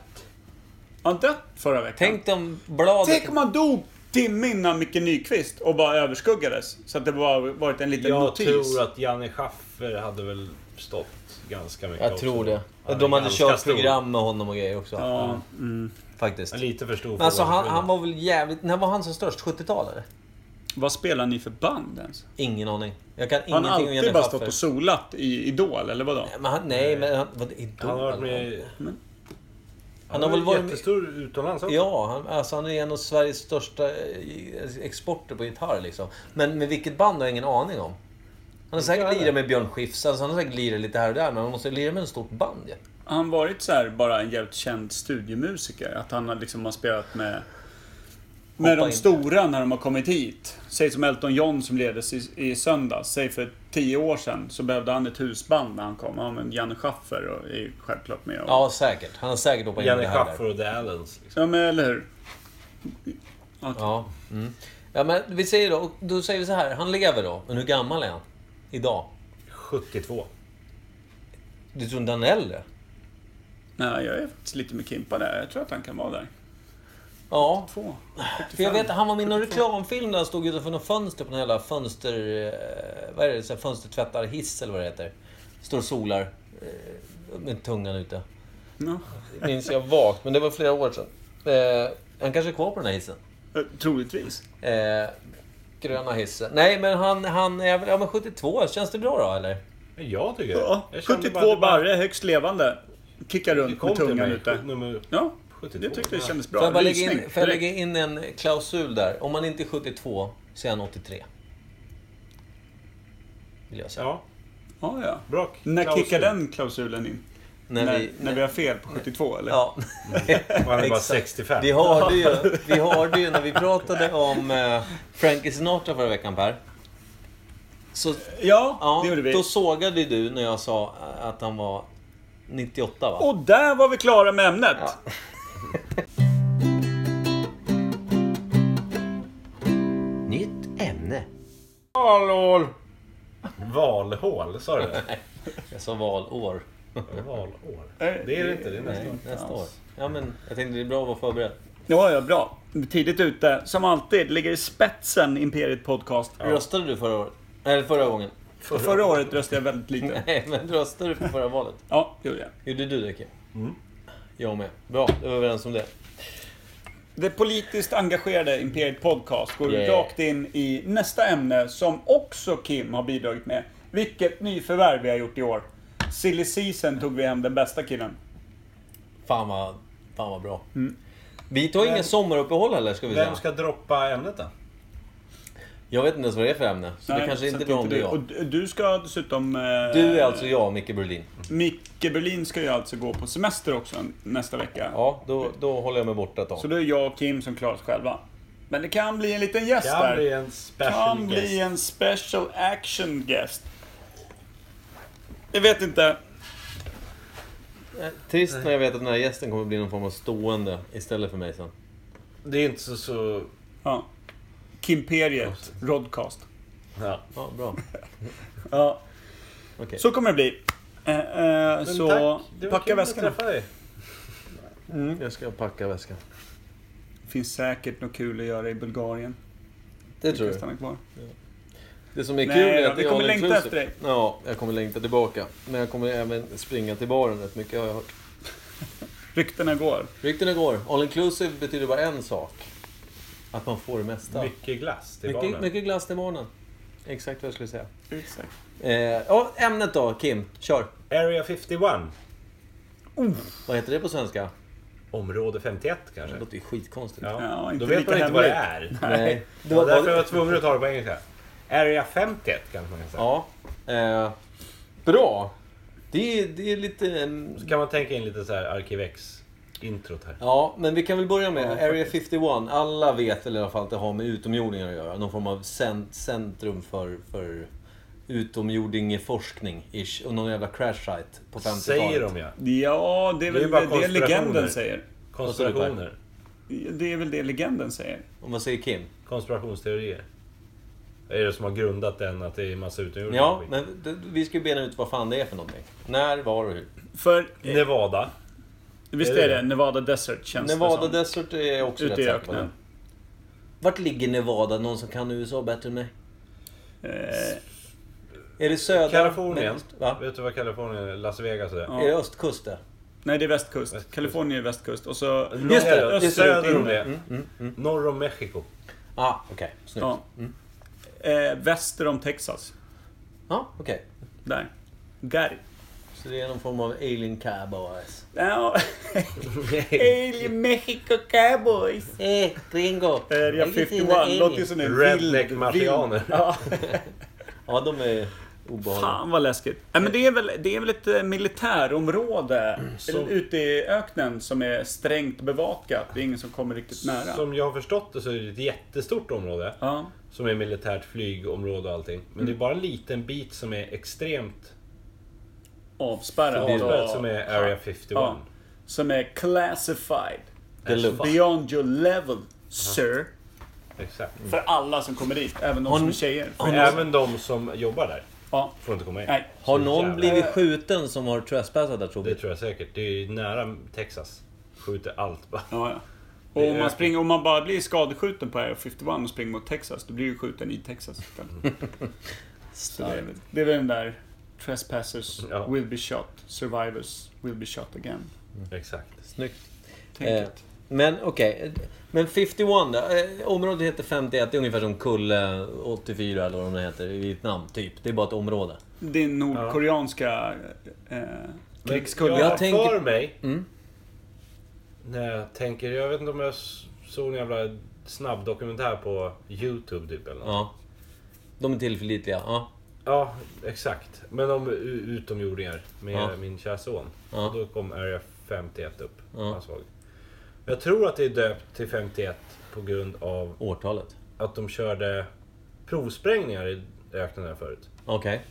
A: Har han dött förra veckan?
C: Tänk om bladet...
A: Tänk om han dog timme innan Micke Nyqvist och bara överskuggades. Så att det bara varit en liten
E: Jag
A: notis.
E: tror att Janne Schaffer hade väl stått ganska mycket
C: Jag
E: också.
C: tror det.
E: Han är
C: De hade
E: ganska
C: kört
E: stor.
C: program med honom och grejer också.
A: Ja,
C: Faktiskt.
E: Men Lite för stor
C: Men alltså
E: för att
C: han,
E: försvinna.
C: han var väl jävligt... När var han som störst? 70-talare?
A: vad spelar ni för band ens?
C: Ingen aning. Jag kan
A: Har han
C: ingenting om Janne
A: alltid bara stått
C: Schaffer.
A: och solat i Idol, eller vadå?
C: Men han, nej, men han, vad, idol,
E: Han har varit med...
C: Han har väl varit med...
E: jättestor utomlands också.
C: Ja, han, alltså han är en av Sveriges största eh, exporter på gitarr liksom. Men med vilket band har jag ingen aning om. Han har säkert lirat med Björn Skifs, alltså han har säkert lirat lite här och där, men han måste lira med ett stort band ju.
A: Har han varit så här bara en jävligt känd studiomusiker? Att han har liksom har spelat med... Med
C: Hoppa
A: de
C: in.
A: stora när de har kommit hit. Säg som Elton John som leddes i, i söndags. Säg för tio år sedan så behövde han ett husband när han kom. Ja men Janne Schaffer och är ju självklart med. Och, ja.
C: Ja, säkert. Han har säkert hoppat in i det
E: Janne
C: här och där.
E: Schaffer och The Allens. Liksom.
A: men eller hur?
C: Ja, mm. ja, men vi säger då, då säger vi så här, han lever då, men hur gammal är han? Idag?
E: 72.
C: Du tror inte han är äldre?
A: Nej, jag är faktiskt lite med Kimpa där. Jag tror att han kan vara där.
C: Ja,
A: Två.
C: För jag vet, han var med i någon reklamfilm där han stod utanför något fönster på någon jävla fönster... eh, Vad är det? Så här Fönstertvättarhiss eller vad det heter. Står och solar. eh, Med tungan ute.
A: Ja.
C: Minns jag vagt, men det var flera år sedan. Eh, han kanske är kvar på den här hissen.
A: Eh, Troligtvis.
C: Eh, gröna hissen. Nej, men han, han är väl... Ja, men 72. Känns det bra då, eller?
E: Men jag tycker
A: Ja,
E: jag kände
A: 72
E: bara- det bara-
A: barre, högst levande. Kickar
E: Det
A: runt
E: kom
A: med
E: till
A: tungan
E: mig.
A: ute.
E: Nummer...
A: Ja,
E: 72.
A: jag tyckte det kändes bra.
C: Får jag bara lägga in,
A: Rysning,
C: får jag
A: direkt.
C: lägga in en klausul där? Om han inte är 72, så är han 83. Vill jag säga.
E: Ja,
A: Ja, ja.
E: bra.
A: När
E: klausul.
A: kickar den klausulen in?
C: När
A: när,
C: vi-
A: när vi har fel på 72 eller?
C: Ja.
E: Och Han är bara
C: Exakt.
E: 65.
C: Vi hörde, ju, vi hörde ju när vi pratade om eh, Frankie Sinatra förra veckan Per. Så,
A: Ja,
C: ja,
A: det gjorde vi.
C: Då sågade ju du när jag sa eh, att han var 98 va?
A: Och där var vi klara med ämnet.
C: Nytt ämne.
E: Valhål! Valhål, sa du det?
C: Jag sa valår.
E: Valår.
A: Nej,
E: Det är det inte, det är nästa
C: Nej,
E: år.
C: nästa år. Ja men jag tänkte det är bra att vara förberedd.
A: Ja, ja, bra. Tidigt ute. Som alltid ligger i spetsen Imperiet Podcast.
C: Röstade du förra året? Eller förra gången?
A: Förra, förra året röstade jag väldigt lite.
C: Nej men röstade du på förra valet?
A: Ja, det gjorde jag.
C: Gjorde du det Kim?
A: Mm.
C: Jag med. Bra, då var vi överens om det.
A: Det politiskt engagerade Imperiet Podcast går
C: Yeah.
A: rakt in i nästa ämne som också Kim har bidragit med. Vilket nyförvärv vi har gjort i år. Silly Season tog vi hem den bästa killen.
C: Fan vad, fan vad bra.
A: Mm.
C: Vi tar inga sommaruppehåll heller ska vi säga.
E: Vem ska droppa ämnet då?
C: Jag vet inte ens vad det är för ämne. Så det
A: Nej,
C: kanske
A: så
C: inte är
A: att
C: bra om det är
A: du. Och
C: jag.
A: d- du ska dessutom... eh,
C: Du är alltså jag, Micke Berlin.
A: Micke Berlin ska ju alltså gå på semester också nästa vecka.
C: Ja, då, då håller jag mig borta ett tag.
A: Mm. Så då är jag och Kim som klarar oss själva. Men det kan bli en liten gäst där.
E: Kan bli en special
A: kan
E: guest.
A: bli en special action guest. Jag vet inte.
C: Eh, Trist när jag vet att den här gästen kommer bli någon form av stående istället för mig sen.
E: Det är inte så... så...
A: Ja. Kimperiet, Rodcast.
E: Ja.
C: Ja, bra.
A: Ja.
C: Okej.
A: Så kommer det bli. Eh, eh,
E: Men
A: så
E: tack, det var
A: packa
E: kul att
A: väskan.
E: träffa dig.
C: Mm, jag ska packa väskan.
A: finns säkert något kul att göra i Bulgarien.
C: Det
A: Vi kan
C: tror jag.
A: stanna kvar.
C: Det som är kul
A: Nej,
C: är
A: då,
C: att
A: vi
C: det är
A: kommer
C: all
A: längta
C: inclusive.
A: efter dig.
C: Ja, jag kommer längta tillbaka. Men jag kommer även springa till baren rätt mycket har jag hört.
A: Ryktena går.
C: Ryktena går. All inclusive betyder bara en sak. Att man får det mesta.
E: Mycket glass till
C: Mycket,
E: barnen.
C: mycket glass till barnen. exakt vad jag skulle säga.
A: Exakt.
C: Eh, ja, ämnet då, Kim. Kör.
B: Area 51.
C: Vad heter det på svenska?
B: Område 51 kanske?
C: Det låter ju skitkonstigt.
B: Ja.
A: Ja,
B: Då
A: inte
B: vet
A: lika
B: man inte vad det är.
A: hemligt.
C: Nej. Det
B: Ja,
C: var,
B: därför var
C: var,
B: jag tvungen att ta det på engelska. Area 51 kanske man kan säga.
C: ja. Eh, bra. Det är, det är lite... mm,
B: Så kan man tänka in lite så här Arkivex-introt här.
C: Ja, men vi kan väl börja med
A: Ja,
C: Area 51. Alla vet väl i alla fall att det har med utomjordingar att göra. Någon form av cent- centrum för, för utomjordingeforskning, ish. Och någon jävla crash site på 50-talet.
B: Säger de ja.
A: Ja, det är
B: Det är
A: väl
B: bara
A: det, det
B: konspirationer.
A: legenden säger.
B: Konspirationer.
A: Det är väl det legenden säger.
C: Och vad säger Kim?
B: Konspirationsteorier. Är det som har grundat den att det är massa utomjordingar? och
C: Ja,
B: skit?
C: men det- vi ska ju bena ut vad fan det är för någonting. När, var och hur.
A: För
B: Nevada.
A: visst
B: är det
A: är det
B: det?
A: Nevada Desert känns
C: Nevada
A: det
C: Desert är jag också
A: som. Ute
C: rätt
A: i
C: säker på.
A: öknen.
C: det. Vart ligger Nevada? Någon som kan USA bättre än mig?
A: Eh,
C: Är det södra?
B: Kalifornien.
C: Nej, Va?
B: Vet du vad Kalifornien är? Las Vegas är det.
A: Ja.
C: Är det östkust det?
A: nej, det är västkust.
B: Västkust.
A: Kalifornien är västkust. Och så...
B: Norr-
C: Just det,
B: öst-
C: just det.
B: Söder om
A: Mm,
B: det. Norr om Mexiko.
C: Ah, okej. Snyggt.
A: Ja.
C: Ja,
A: Eh, väster om Texas.
C: ah, okej.
A: Där. Där.
C: Så det är någon form av alien cowboys.
A: Ja. Alien Mexico Cowboys.
C: Eh, Ringo!
A: Area 51. Låter ju som en vild...
B: Redneck-marsianer.
A: Ja.
C: Ja, de är obehagliga.
A: Fan vad läskigt. Nej, men det, är väl, det är väl ett eh, militärområde
B: Mm, Så-
A: ute i öknen som är strängt bevakat. Det är ingen som kommer riktigt nära.
B: Som jag har förstått det så är det ett jättestort område.
A: Ja. Mm.
B: Som är militärt flygområde och allting. Men det är bara en liten bit som är extremt
A: Avspärrat.
B: avspärrat
A: och-
B: som är Area 51.
A: Ja. Som är classified.
C: Deluxe.
A: Beyond your level, sir.
B: Exakt.
A: För alla som kommer dit, även de
C: Har
A: som
C: ni-
A: är tjejer.
B: Men även de som jobbar där
A: Ja.
B: får inte komma in.
A: Nej.
C: Har
B: Så
C: någon
B: jävla-
C: blivit skjuten som har trespassat där tror
B: Det
C: vi?
B: tror jag säkert. Det är ju nära Texas. Skjuter allt bara.
A: Ja, ja.
B: Det
A: Och
B: är
A: om man,
B: öken.
A: springer, om man bara blir skadeskjuten på Air 51 och springer mot Texas, då blir du skjuten i Texas. Så det, är, väl- det är väl den där Trespassers
B: Ja.
A: will be shot, survivors will be shot again.
C: Mm.
B: Exakt.
C: Snyggt. Eh,
A: Tänket.
C: men okej. Men 51 då? Eh, området heter 51. Det är ungefär som Kulle 84 eller vad de heter i Vietnam, typ. Det är bara ett område.
A: Det är nordkoreanska eh,
B: Men
A: krigskullar.
B: Jag
C: Jag
B: har
C: tänker-
B: för mig...
C: Mm.
B: När jag tänker... Jag vet inte om jag s- såg en jävla snabb dokumentär på Youtube typ eller något.
C: Ja. De är tillförlitliga. Ja.
B: Ja, exakt. Men om u- utomjordingar med
C: Ja.
B: min kära son.
C: Ja.
B: Då kom Area 51 upp.
C: Ja.
B: Han såg. Jag tror att det är döpt till 51 på grund av
C: Årtalet.
B: att de körde provsprängningar i öknen här förut.
C: Okej.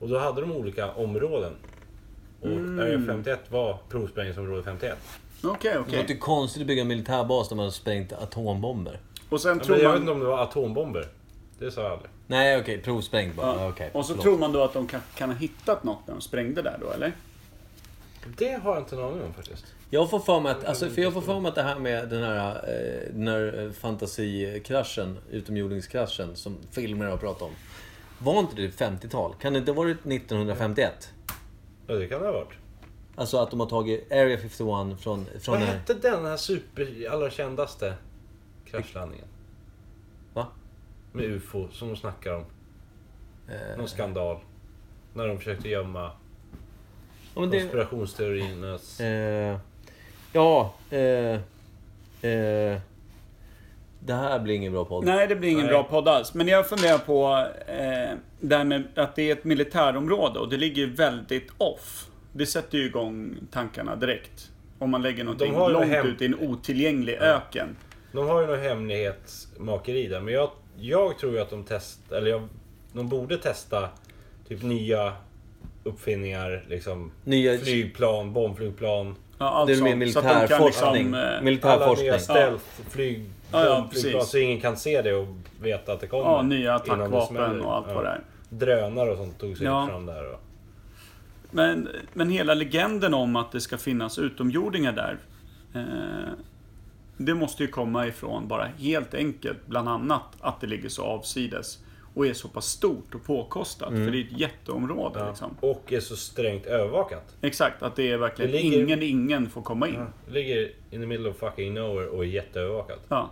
B: Och då hade de olika områden. Och Area 51 var provsprängningsområde 51.
A: Okej,
C: Det
A: okej.
C: låter ju konstigt att bygga en militärbas där man har sprängt atombomber.
A: Och sen
B: Men jag
A: tror
B: vet inte
A: man...
B: om det var atombomber. Det sa jag aldrig.
C: Nej, okej. Provsprängt bara. Ja.
A: Ja.
C: Okej.
A: Och så
C: förlåt.
A: tror man då att de kan, kan ha hittat något när de sprängde där då, eller?
B: Det har jag inte en aning om faktiskt.
C: Jag får för mig att, alltså, för jag får för mig att det här med den här, eh, den här eh, fantasikraschen, utomjordingskraschen, som filmer har pratat om. Var inte det 50-tal? Kan det inte ha varit 1951?
B: Ja, det kan det ha varit.
C: Alltså att de har tagit Area 51 från... från eh,
B: Vad
C: den här-
B: hette den här super... allra kändaste kraschlandningen?
C: Va?
B: Med UFO som de snackar om. Någon skandal. När de försökte gömma
C: Ja, men det,
B: konspirationsteoriernas...
C: eh, ja eh, eh, det här blir ingen bra podd.
A: Nej, det blir ingen
B: Nej.
A: bra podd alls. Men jag funderar på eh, det här med att det är ett militärområde och det ligger väldigt off. Det sätter ju igång tankarna direkt. Om man lägger någonting
B: har ju
A: långt
B: hem-
A: ut i en otillgänglig öken.
B: De har ju någon hemlighetsmakeri där. Men jag, jag tror ju att de test, eller jag, de borde testa typ nya uppfinningar. Liksom
C: Nya-
B: flygplan, bombflygplan.
A: Ja, allt
C: det är mer
A: sånt. alltså, Så att de kan
C: militärforskning.
A: liksom, eh,
B: Alla
C: militärforskning.
B: nya stealth, flyg,
A: Ja, ja,
B: bombflygplan.
A: precis.
B: så ingen kan se det och veta att det kommer.
A: ja, nya
B: innan det
A: attackvapen
B: smäller.
A: och allt
B: Ja.
A: vad det är.
B: Drönare och sånt tog sig
A: Ja.
B: fram där. Och,
A: Men, men hela legenden om att det ska finnas utomjordingar där. Eh, det måste ju komma ifrån bara helt enkelt, bland annat, att det ligger så avsides. Och är så pass stort och påkostat.
B: Mm.
A: För det är ett jätteområde. Liksom.
B: och är så strängt övervakat.
A: Exakt, att det är verkligen
B: Det ligger-
A: ingen, ingen får komma in.
B: Ligger in the middle of fucking nowhere och är jätteövervakat.
A: Ja.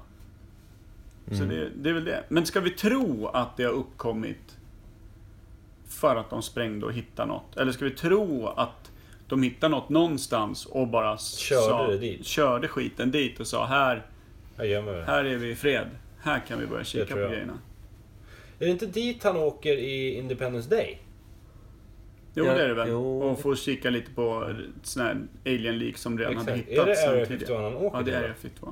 B: Mm.
A: Så det, det är väl det. Men ska vi tro att det har uppkommit för att de sprängde och hittade något? Eller ska vi tro att de hittade något någonstans och bara s-
B: Körde
A: sa,
B: det dit.
A: körde skiten dit och sa här,
B: Jag gömmer mig.
A: här är vi i fred. Här kan vi börja kika på
B: tror jag.
A: grejerna.
B: Är det inte dit han åker i Independence Day?
A: Jo,
C: Ja,
A: det är det väl.
C: jo.
A: Och få kika lite på sån här alien-lik som redan hade
B: Exakt. Är det
A: hittats sen
B: Area
A: tidigare.
B: 51 han åker
A: Ja, det
B: till,
A: är
B: va?
A: Area 51.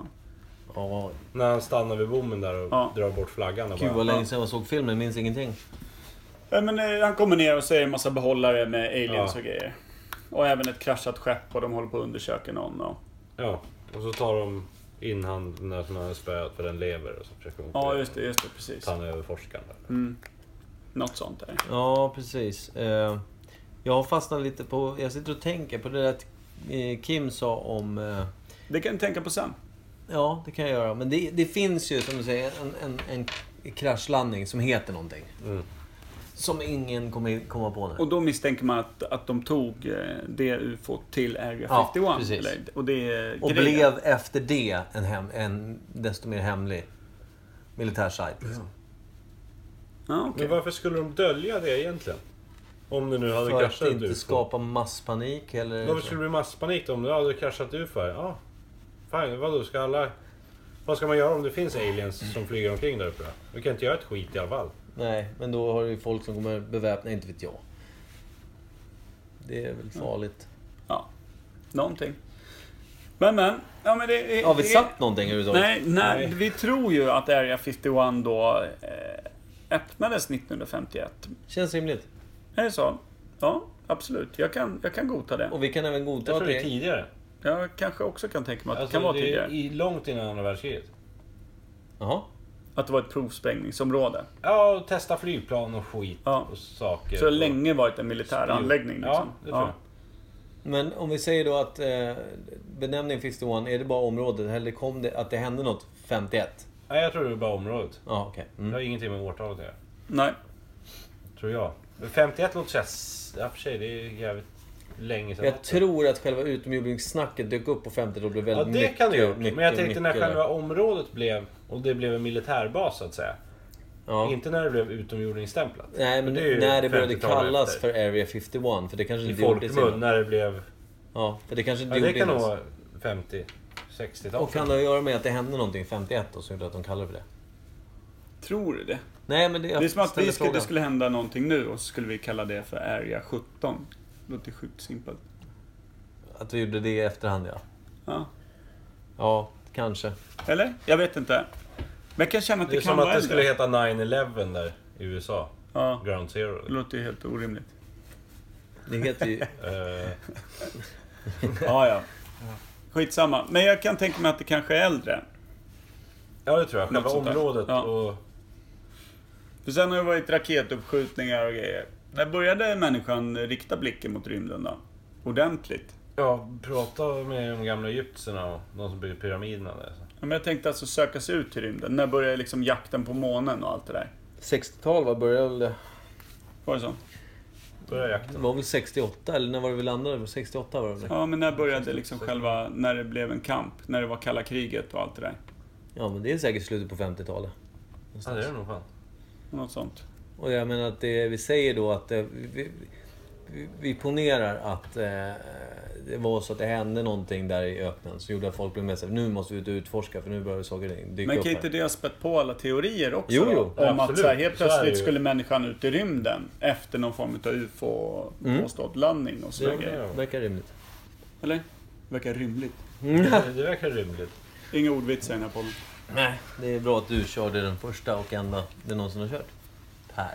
C: Ja,
B: När han stannar vid bommen där och
A: Ja.
B: drar bort flaggan och
C: gud
B: bara...
C: vad länge sedan jag såg filmen, jag minns ingenting.
A: Ja, men, eh, han kommer ner och säger en massa behållare med aliens
B: Ja.
A: och grejer. Och även ett kraschat skepp och de håller på att undersöka någon. Och...
B: Ja. Och så tar de in han den där som han har spöat för den lever och så försöker de
A: Ja, just det. Just det precis.
B: Ta han över forskaren där.
A: Mm. Något sånt där.
C: Ja, precis. Eh, Jag har fastnat lite på... Jag sitter och tänker på det där att, eh, Kim sa om... eh,
A: Det kan du tänka på sen.
C: Ja, det kan jag göra. Men det, det finns ju, som du säger, en, en, en kraschlandning som heter någonting.
B: Mm.
C: Som ingen kommer komma på nu.
A: Och då misstänker man att, att de tog eh, det ufot till Area 51.
C: Ja, precis.
A: eller, och det är
C: Och
A: grejen.
C: blev efter det en, hem, en desto mer hemlig militärsajt. Liksom.
A: Ja, okej.
B: Men varför skulle de dölja det egentligen? Om det nu hade
C: För att
B: kraschat ett
C: inte
B: UFO.
C: skapa masspanik eller...
B: Varför skulle det bli masspanik då om det hade kraschat UFO här? Ja. Fine, vadå ska alla... Vad ska man göra om det finns aliens som flyger omkring där uppe då? Vi kan inte göra ett skit i alla fall.
C: Nej, men då har du ju folk som kommer beväpna, inte vet jag. Det är väl farligt.
A: Ja. Någonting. Men men. Ja, men det, är-
C: Har vi
A: det är-
C: satt någonting överhuvudtaget?
A: Nej, nej, vi tror ju att Area 51 då eh, öppnades 1951.
C: Känns rimligt.
A: Är det så? Ja, absolut. Jag kan, jag kan godta det.
C: Och vi kan även godta
B: Jag tror det är
C: det.
B: tidigare.
A: Jag kanske också kan tänka mig att
B: Alltså,
A: det kan vara
B: det är
A: tidigare.
B: I, långt innan andra världskriget.
C: Jaha.
A: Att det var ett provsprängningsområde.
B: Ja, och testa flygplan och skit
A: Ja.
B: och saker.
A: Så det har
B: och-
A: länge varit en militär anläggning. Liksom.
B: Ja, det tror jag.
C: Men om vi säger då att eh, benämningen 51, är det bara området? Eller kom det att det hände något 51?
B: Nej, jag tror det är bara området.
C: Ja, okej.
B: Det
C: Mm.
B: har ingenting med årtalet att göra.
A: Nej.
B: Tror jag. Men 51 låter såhär... Ja, för sig, det är jävligt länge sedan.
C: Jag tror att själva utomjordingssnacket dök upp på 50 och blev
B: Ja,
C: väldigt
B: det
C: mycket,
B: kan det ju.
C: mycket,
B: Men jag tänkte när
C: mycket-
B: själva området blev... Och det blev en militärbas så att säga.
C: Ja.
B: Inte när det blev utomjordingstämplat.
C: Nej, men
B: Det är ju
C: när det började
B: 50-talet
C: kallas
B: efter.
C: för Area 51, för det kanske
B: I
C: inte gjordes
B: folkmun,
C: innan.
B: när det blev...
C: Ja, för det kanske inte
B: Ja, det
C: gjordes
B: kan nog
C: innan.
B: vara 50, 60-tal.
C: Och kan det ha att göra med att det hände någonting 51 då, som gjorde att de kallade det för det?
A: Tror du det?
C: Nej, men det, jag
A: Det är som att vi
C: ställer
A: skulle, det
C: frågan.
A: skulle hända någonting nu och så skulle vi kalla det för Area 17. Låter sjukt simpelt.
C: Att vi gjorde det i efterhand, ja.
A: Ja.
C: Ja, kanske.
A: Eller? Jag vet inte. Men jag kan känna att
B: Det
A: det,
B: är
A: kan
B: som
A: vara
B: att det
A: äldre.
B: skulle heta 9-11 där i USA.
A: Ja,
B: Ground Zero.
C: Mm.
A: det låter ju helt orimligt.
C: Det heter ju...
B: Eh,
A: Ja, ja. Skitsamma. Men jag kan tänka mig att det kanske är äldre.
B: ja, det tror jag. Själva
A: Något sånt där.
B: området
A: Ja.
B: och...
A: För sen har det varit raketuppskjutningar och grejer. När började människan rikta blicken mot rymden då? Ordentligt?
B: Ja, prata med de gamla egyptierna och de som byggde pyramiderna där.
A: Ja, Men jag tänkte alltså söka sig ut till rymden. När började liksom jakten på månen och allt det där?
C: 60-tal, vad började väl det?
A: Var det så?
B: Börja
C: Det
B: jakten.
C: var väl 68, eller när var det vi landade? 68 var det väl?
A: Ja, men när började liksom själva... När det blev en kamp? När det var kalla kriget och allt det där?
C: Ja, men det är säkert slutet på 50-talet.
B: Ja, det är det nog fan.
A: Något sånt.
C: Och jag menar att det, vi säger då att... eh, Vi, vi, vi- vi ponerar att eh, det var så att det hände någonting där i öknen som gjorde att folk blev med sig. Nu måste vi ut och utforska för nu börjar saker och ting dyka
A: Men
C: upp
A: kan
C: här.
A: inte det ha spett på alla teorier också?
C: Jo,
A: då?
C: jo.
A: Om att
B: Absolut.
A: så här, helt
B: Så är det
A: plötsligt
B: ju.
A: skulle människan ut i rymden efter någon form av
C: Mm.
A: ufo-påstådd-landning och sådana
B: Jo,
A: grejer.
B: det
C: Verkar rimligt.
A: Eller? Verkar rimligt.
B: Det verkar rimligt.
A: Inga ordvitsar i den här podden.
C: Nej, det är bra att du körde den första och enda det någonsin har kört. Per.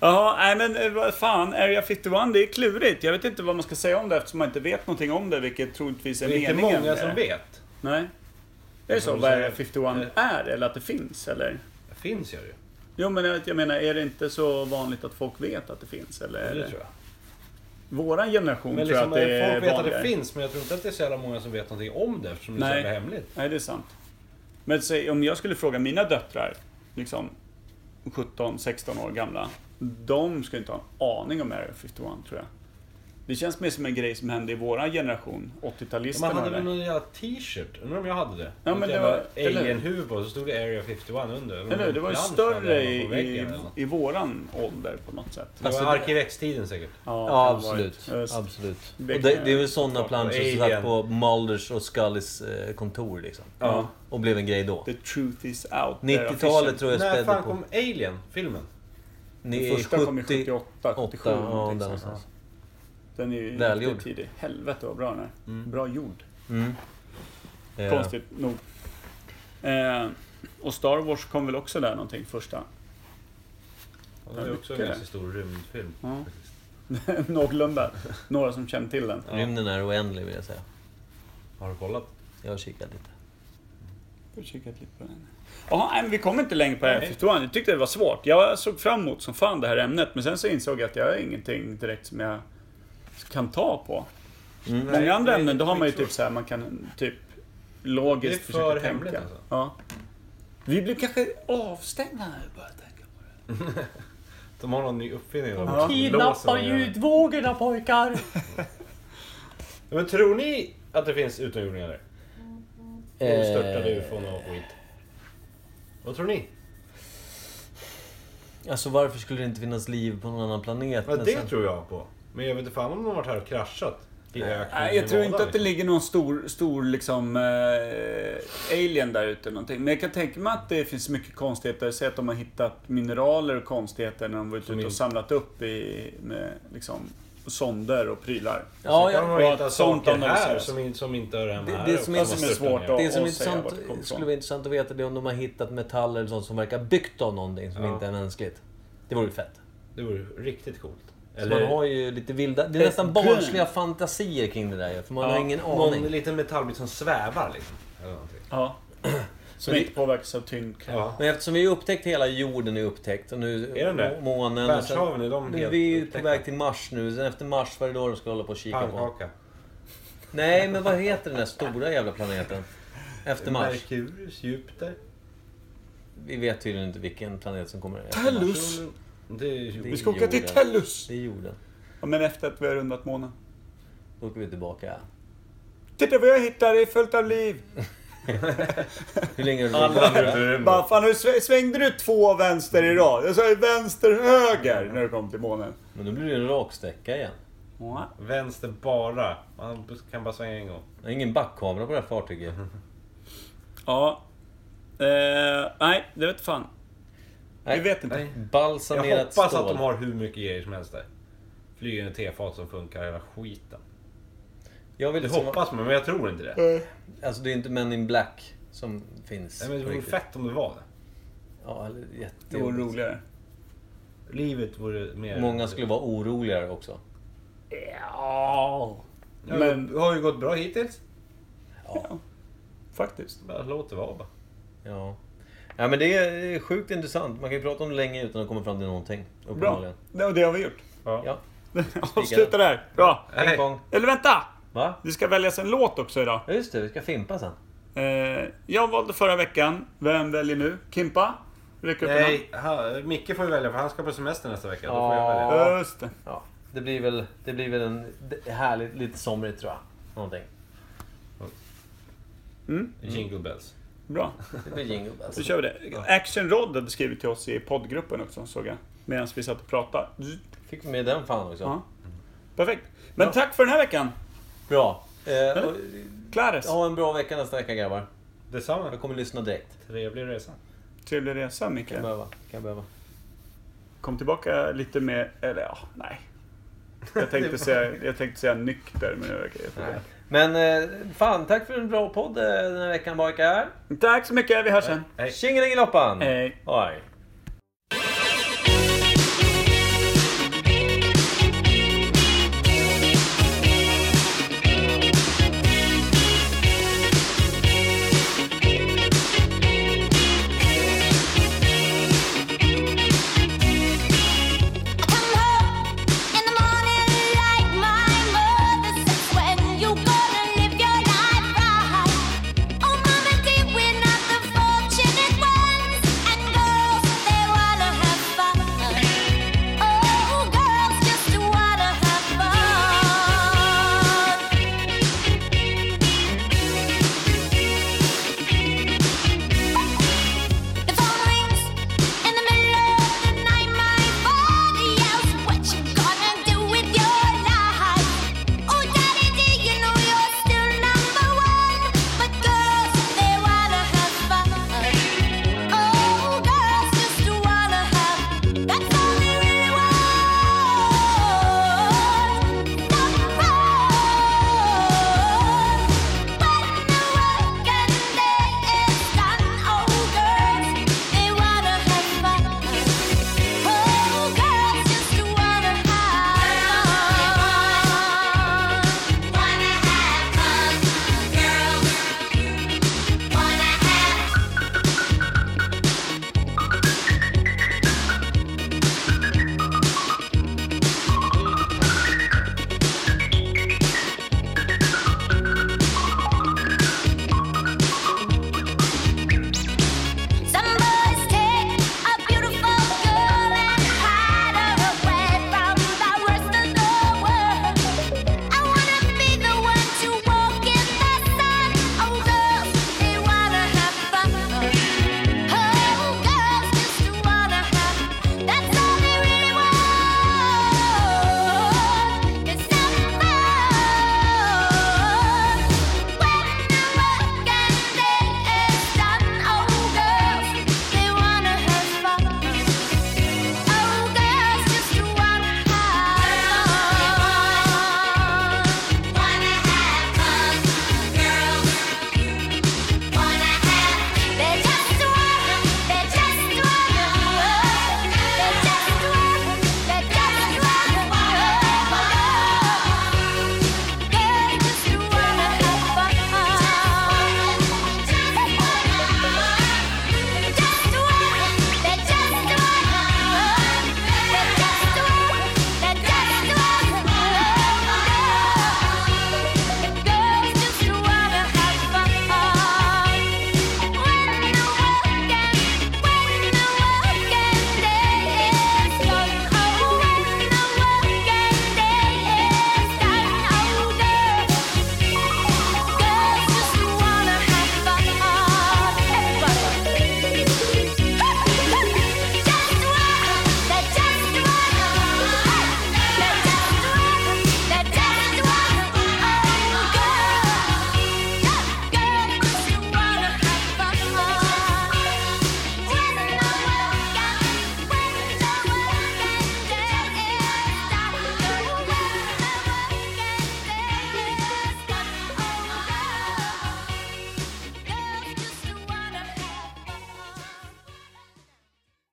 A: Jaha, nej men eh, vad fan, Area 51 det är klurigt. Jag vet inte vad man ska säga om det eftersom man inte vet någonting om det, vilket troligtvis är
B: Det är inte
A: meningen.
B: många
A: med
B: som
A: det.
B: vet. Alltså,
A: Nej. Är det så
B: får
A: vad
B: säga-
A: Area 51
B: eh,
A: är, eller att det finns, eller?
B: Det finns ju.
A: Jo men jag vet- jag menar, är det inte så vanligt att folk vet att det finns? Eller? är
B: Det
A: det-
B: tror jag.
A: Våran generation
B: Men
A: tror jag
B: liksom,
A: att det är
B: folk vet att det
A: vanligare.
B: finns, men jag tror inte att det är så jävla många som vet någonting om det eftersom det är så
A: Nej.
B: jävla hemligt.
A: Nej, det är sant. Men säg, om jag skulle fråga mina döttrar, liksom 17-16 år gamla. De skulle inte ha en aning om Area 51 tror jag. Det känns mer som en grej som hände i våran generation, 80-talisterna.
B: Man hade
A: där.
B: väl någon jävla t-shirt? Undrar om jag hade det?
A: Ja, men
B: Något
A: det
B: jävla
A: var- eller-
B: Alien-huvud och så stod det Area 51 under.
A: Eller hur? Det var ju
B: Jag hade fan
A: större
B: det
A: i,
B: på väggen
A: i,
B: eller något.
A: i våran ålder på något sätt.
B: Det
C: Alltså,
B: var
C: det-
B: Arkiv X-tiden säkert.
C: Ja,
A: det kan
C: absolut.
A: vara- Just.
C: absolut. Och
A: Det
C: det,
A: kan jag-
C: det är väl sådana planscher som satt
B: Alien.
C: på Mulders och Scullys eh, kontor liksom.
A: Ja.
C: Och blev en grej då.
A: The truth is out. där
C: 90-talet tror jag
B: När
C: spädde
B: fan
C: på.
B: kom Alien-filmen?
A: Den
C: Ni,
A: första kom i
C: 70...
A: 78, 77.
C: åtta, ja,
A: någonting
C: där
A: sånt.
C: någonstans.
A: Den är ju
C: Välgjord.
A: riktigt tidig. Helvete vad bra den är. Bra gjord.
C: Mm. Eh,
A: Konstigt nog. Eh, och Star Wars kom väl också där någonting första?
B: Ja, Det är också en
A: Mycket.
B: ganska stor rymdfilm.
A: Ja. Någorlunda. Några som känner till den.
C: Rymden är oändlig vill jag säga.
B: Har du kollat?
C: Jag har kikat lite.
A: Får kika lite på den. Jaha, nej, men vi kom inte längre på F1. Jag tyckte det var svårt. Jag såg fram emot som fan det här ämnet, men sen så insåg jag att jag har ingenting direkt som jag kan ta på.
B: Nej,
A: Många andra
B: nej,
A: ämnen, då har man ju
B: skitsvårt.
A: typ så här, man kan typ logiskt
B: Det är för
A: försöka
B: hemligt,
A: tänka.
B: alltså.
A: Ja. Vi blev kanske avstängda när jag började tänka på det.
B: De har någon ny uppfinning. De
G: Kidnappar
B: låser dem.
G: ljudvågorna pojkar!
B: Ja, Men tror ni att det finns utomjordingar där? Och störtade ufon och skit. Vad tror ni?
C: Alltså varför skulle det inte finnas liv på någon annan planet?
B: Ja,
C: Men
B: det
C: sen-
B: tror jag på. Men jag vet inte fan om de har varit här och kraschat. I öknen
A: Nej,
B: i
A: jag tror
B: Nevada,
A: inte att det
B: liksom.
A: ligger någon stor, stor liksom, eh, alien där ute eller någonting. Men jag kan tänka mig att det finns mycket konstigheter. Säg att de har hittat mineraler och konstigheter när de varit ute och
B: inte-
A: samlat upp i, med liksom, sonder och prylar.
C: Ja,
B: Sen kan
C: ja.
B: de ha
A: och att
B: hittat
A: sånt
B: saker här
A: analyseras.
B: som, in- som inte hör hemma
C: Det-
B: här.
C: det
B: och
C: som är-
B: som
C: som
B: har
A: är
B: stört
A: svårt
B: ner.
A: att-
C: Det som är
A: Och säga
C: intressant,
A: vart det kommer
C: skulle
A: ifrån.
C: vara intressant att veta det är om de har hittat metaller eller sånt som verkar byggt av någonting som
B: Ja.
C: inte är mänskligt. Det vore ju fett.
B: Det vore riktigt coolt.
C: Så man
B: Eller Eh,
C: har ju lite vilda... Det är nästan barnsliga fantasier kring det där ju, för man har ingen
B: någon
C: aning.
B: liten metallbit som svävar liksom. Eller någonting.
A: Ja. Som inte påverkas av tyngdkraft.
B: Ja.
C: Men eftersom vi har upptäckt hela jorden är upptäckt och nu
B: Är den det?
C: månen... och sen-
B: Världshaven, är de
C: Nu,
B: helt
C: vi är ju på
B: upptäckta?
C: väg till Mars nu, sen efter Mars, vad är det då de ska hålla på och kika på?
B: Pannkaka.
C: Nej, men vad heter den där stora jävla planeten? Efter Mars?
B: Merkurius, Jupiter.
C: Vi vet tydligen inte vilken planet som kommer efter Mars.
A: Tellus!
B: Det är ju...
A: Vi ska åka till
C: Jorden.
A: Tellus!
C: Det är jorden.
A: Ja, men efter att vi har rundat månen.
C: Då åker vi tillbaka.
A: Titta vad jag hittade, det är fullt av liv!
C: Hur länge har du varit borta?
A: Bara, fan, nu sväng- svängde du två vänster i rad? Jag sa ju vänster, höger när du kom till månen.
C: Men då blir det en raksträcka igen.
B: Vänster bara. Man kan bara svänga en gång.
C: Det är ingen backkamera på det här fartyget.
A: Ja. Eh, nej, det vet fan.
C: Nej.
A: Vi vet inte.
B: Nej. Jag
C: Balsamerat
B: hoppas
C: stål.
B: att de har hur mycket grejer som helst där. Flygande tefat som funkar, hela skiten.
C: Jag vill
B: Det
C: liksom...
B: hoppas man, men jag tror inte det.
C: Alltså det är inte Men in Black som finns.
B: Nej, men det
C: på
B: vore
C: riktigt.
B: fett om det var det.
C: Ja, eller
A: Det vore
C: jättejobbigt.
A: roligare.
B: Livet vore mer...
C: Många skulle vara oroligare också.
A: Ja.
B: Ja,
A: Men-
B: Det har ju gått bra hittills.
A: ja. Faktiskt.
B: Bara låt det vara bara.
C: Ja. Ja men det är sjukt intressant. Man kan ju prata om det länge utan att komma fram till någonting.
A: Bra.
C: Uppenbarligen.
A: Det, och det har vi gjort.
C: Ja.
A: Avsluta där. Bra.
C: Ping pong.
A: Eller vänta!
C: Va?
A: Det ska väljas en låt också idag.
C: Ja just det, vi ska fimpa sen.
A: Eh, jag valde förra veckan. Vem väljer nu? Kimpa? Räck upp en hand.
B: Nej, ha, Micke får ju välja för han ska på semester nästa vecka. Då får jag välja.
C: Ja.
A: Just det.
C: Ja. Det blir väl, det blir väl en det- härligt, lite somrigt tror jag. Någonting.
B: Jingle bells.
A: Bra.
C: Det blir jingle bells.
A: Då kör vi det. Action Rod hade skrivit till oss i poddgruppen också såg jag. Medan vi satt och pratade.
C: Fick vi med den fan också.
A: Ja. Perfekt. Men tack för den här veckan.
C: Bra. Eh, och,
A: Clares.
C: ha en bra vecka nästa vecka grabbar.
B: Detsamma.
C: Jag kommer lyssna direkt.
B: Trevlig resa.
A: Trevlig resa Micke.
C: Kan jag behöva. Kan jag behöva.
A: Kom tillbaka lite mer, eller ja, nej. Jag tänkte säga, jag tänkte säga nykter men det verkar ju
C: Men eh, fan, tack för en bra podd eh, den här veckan pojkar.
A: Tack så mycket, vi hörs sen.
B: Hej.
C: Tjingelingiloppan!
A: Hej.
C: Oj.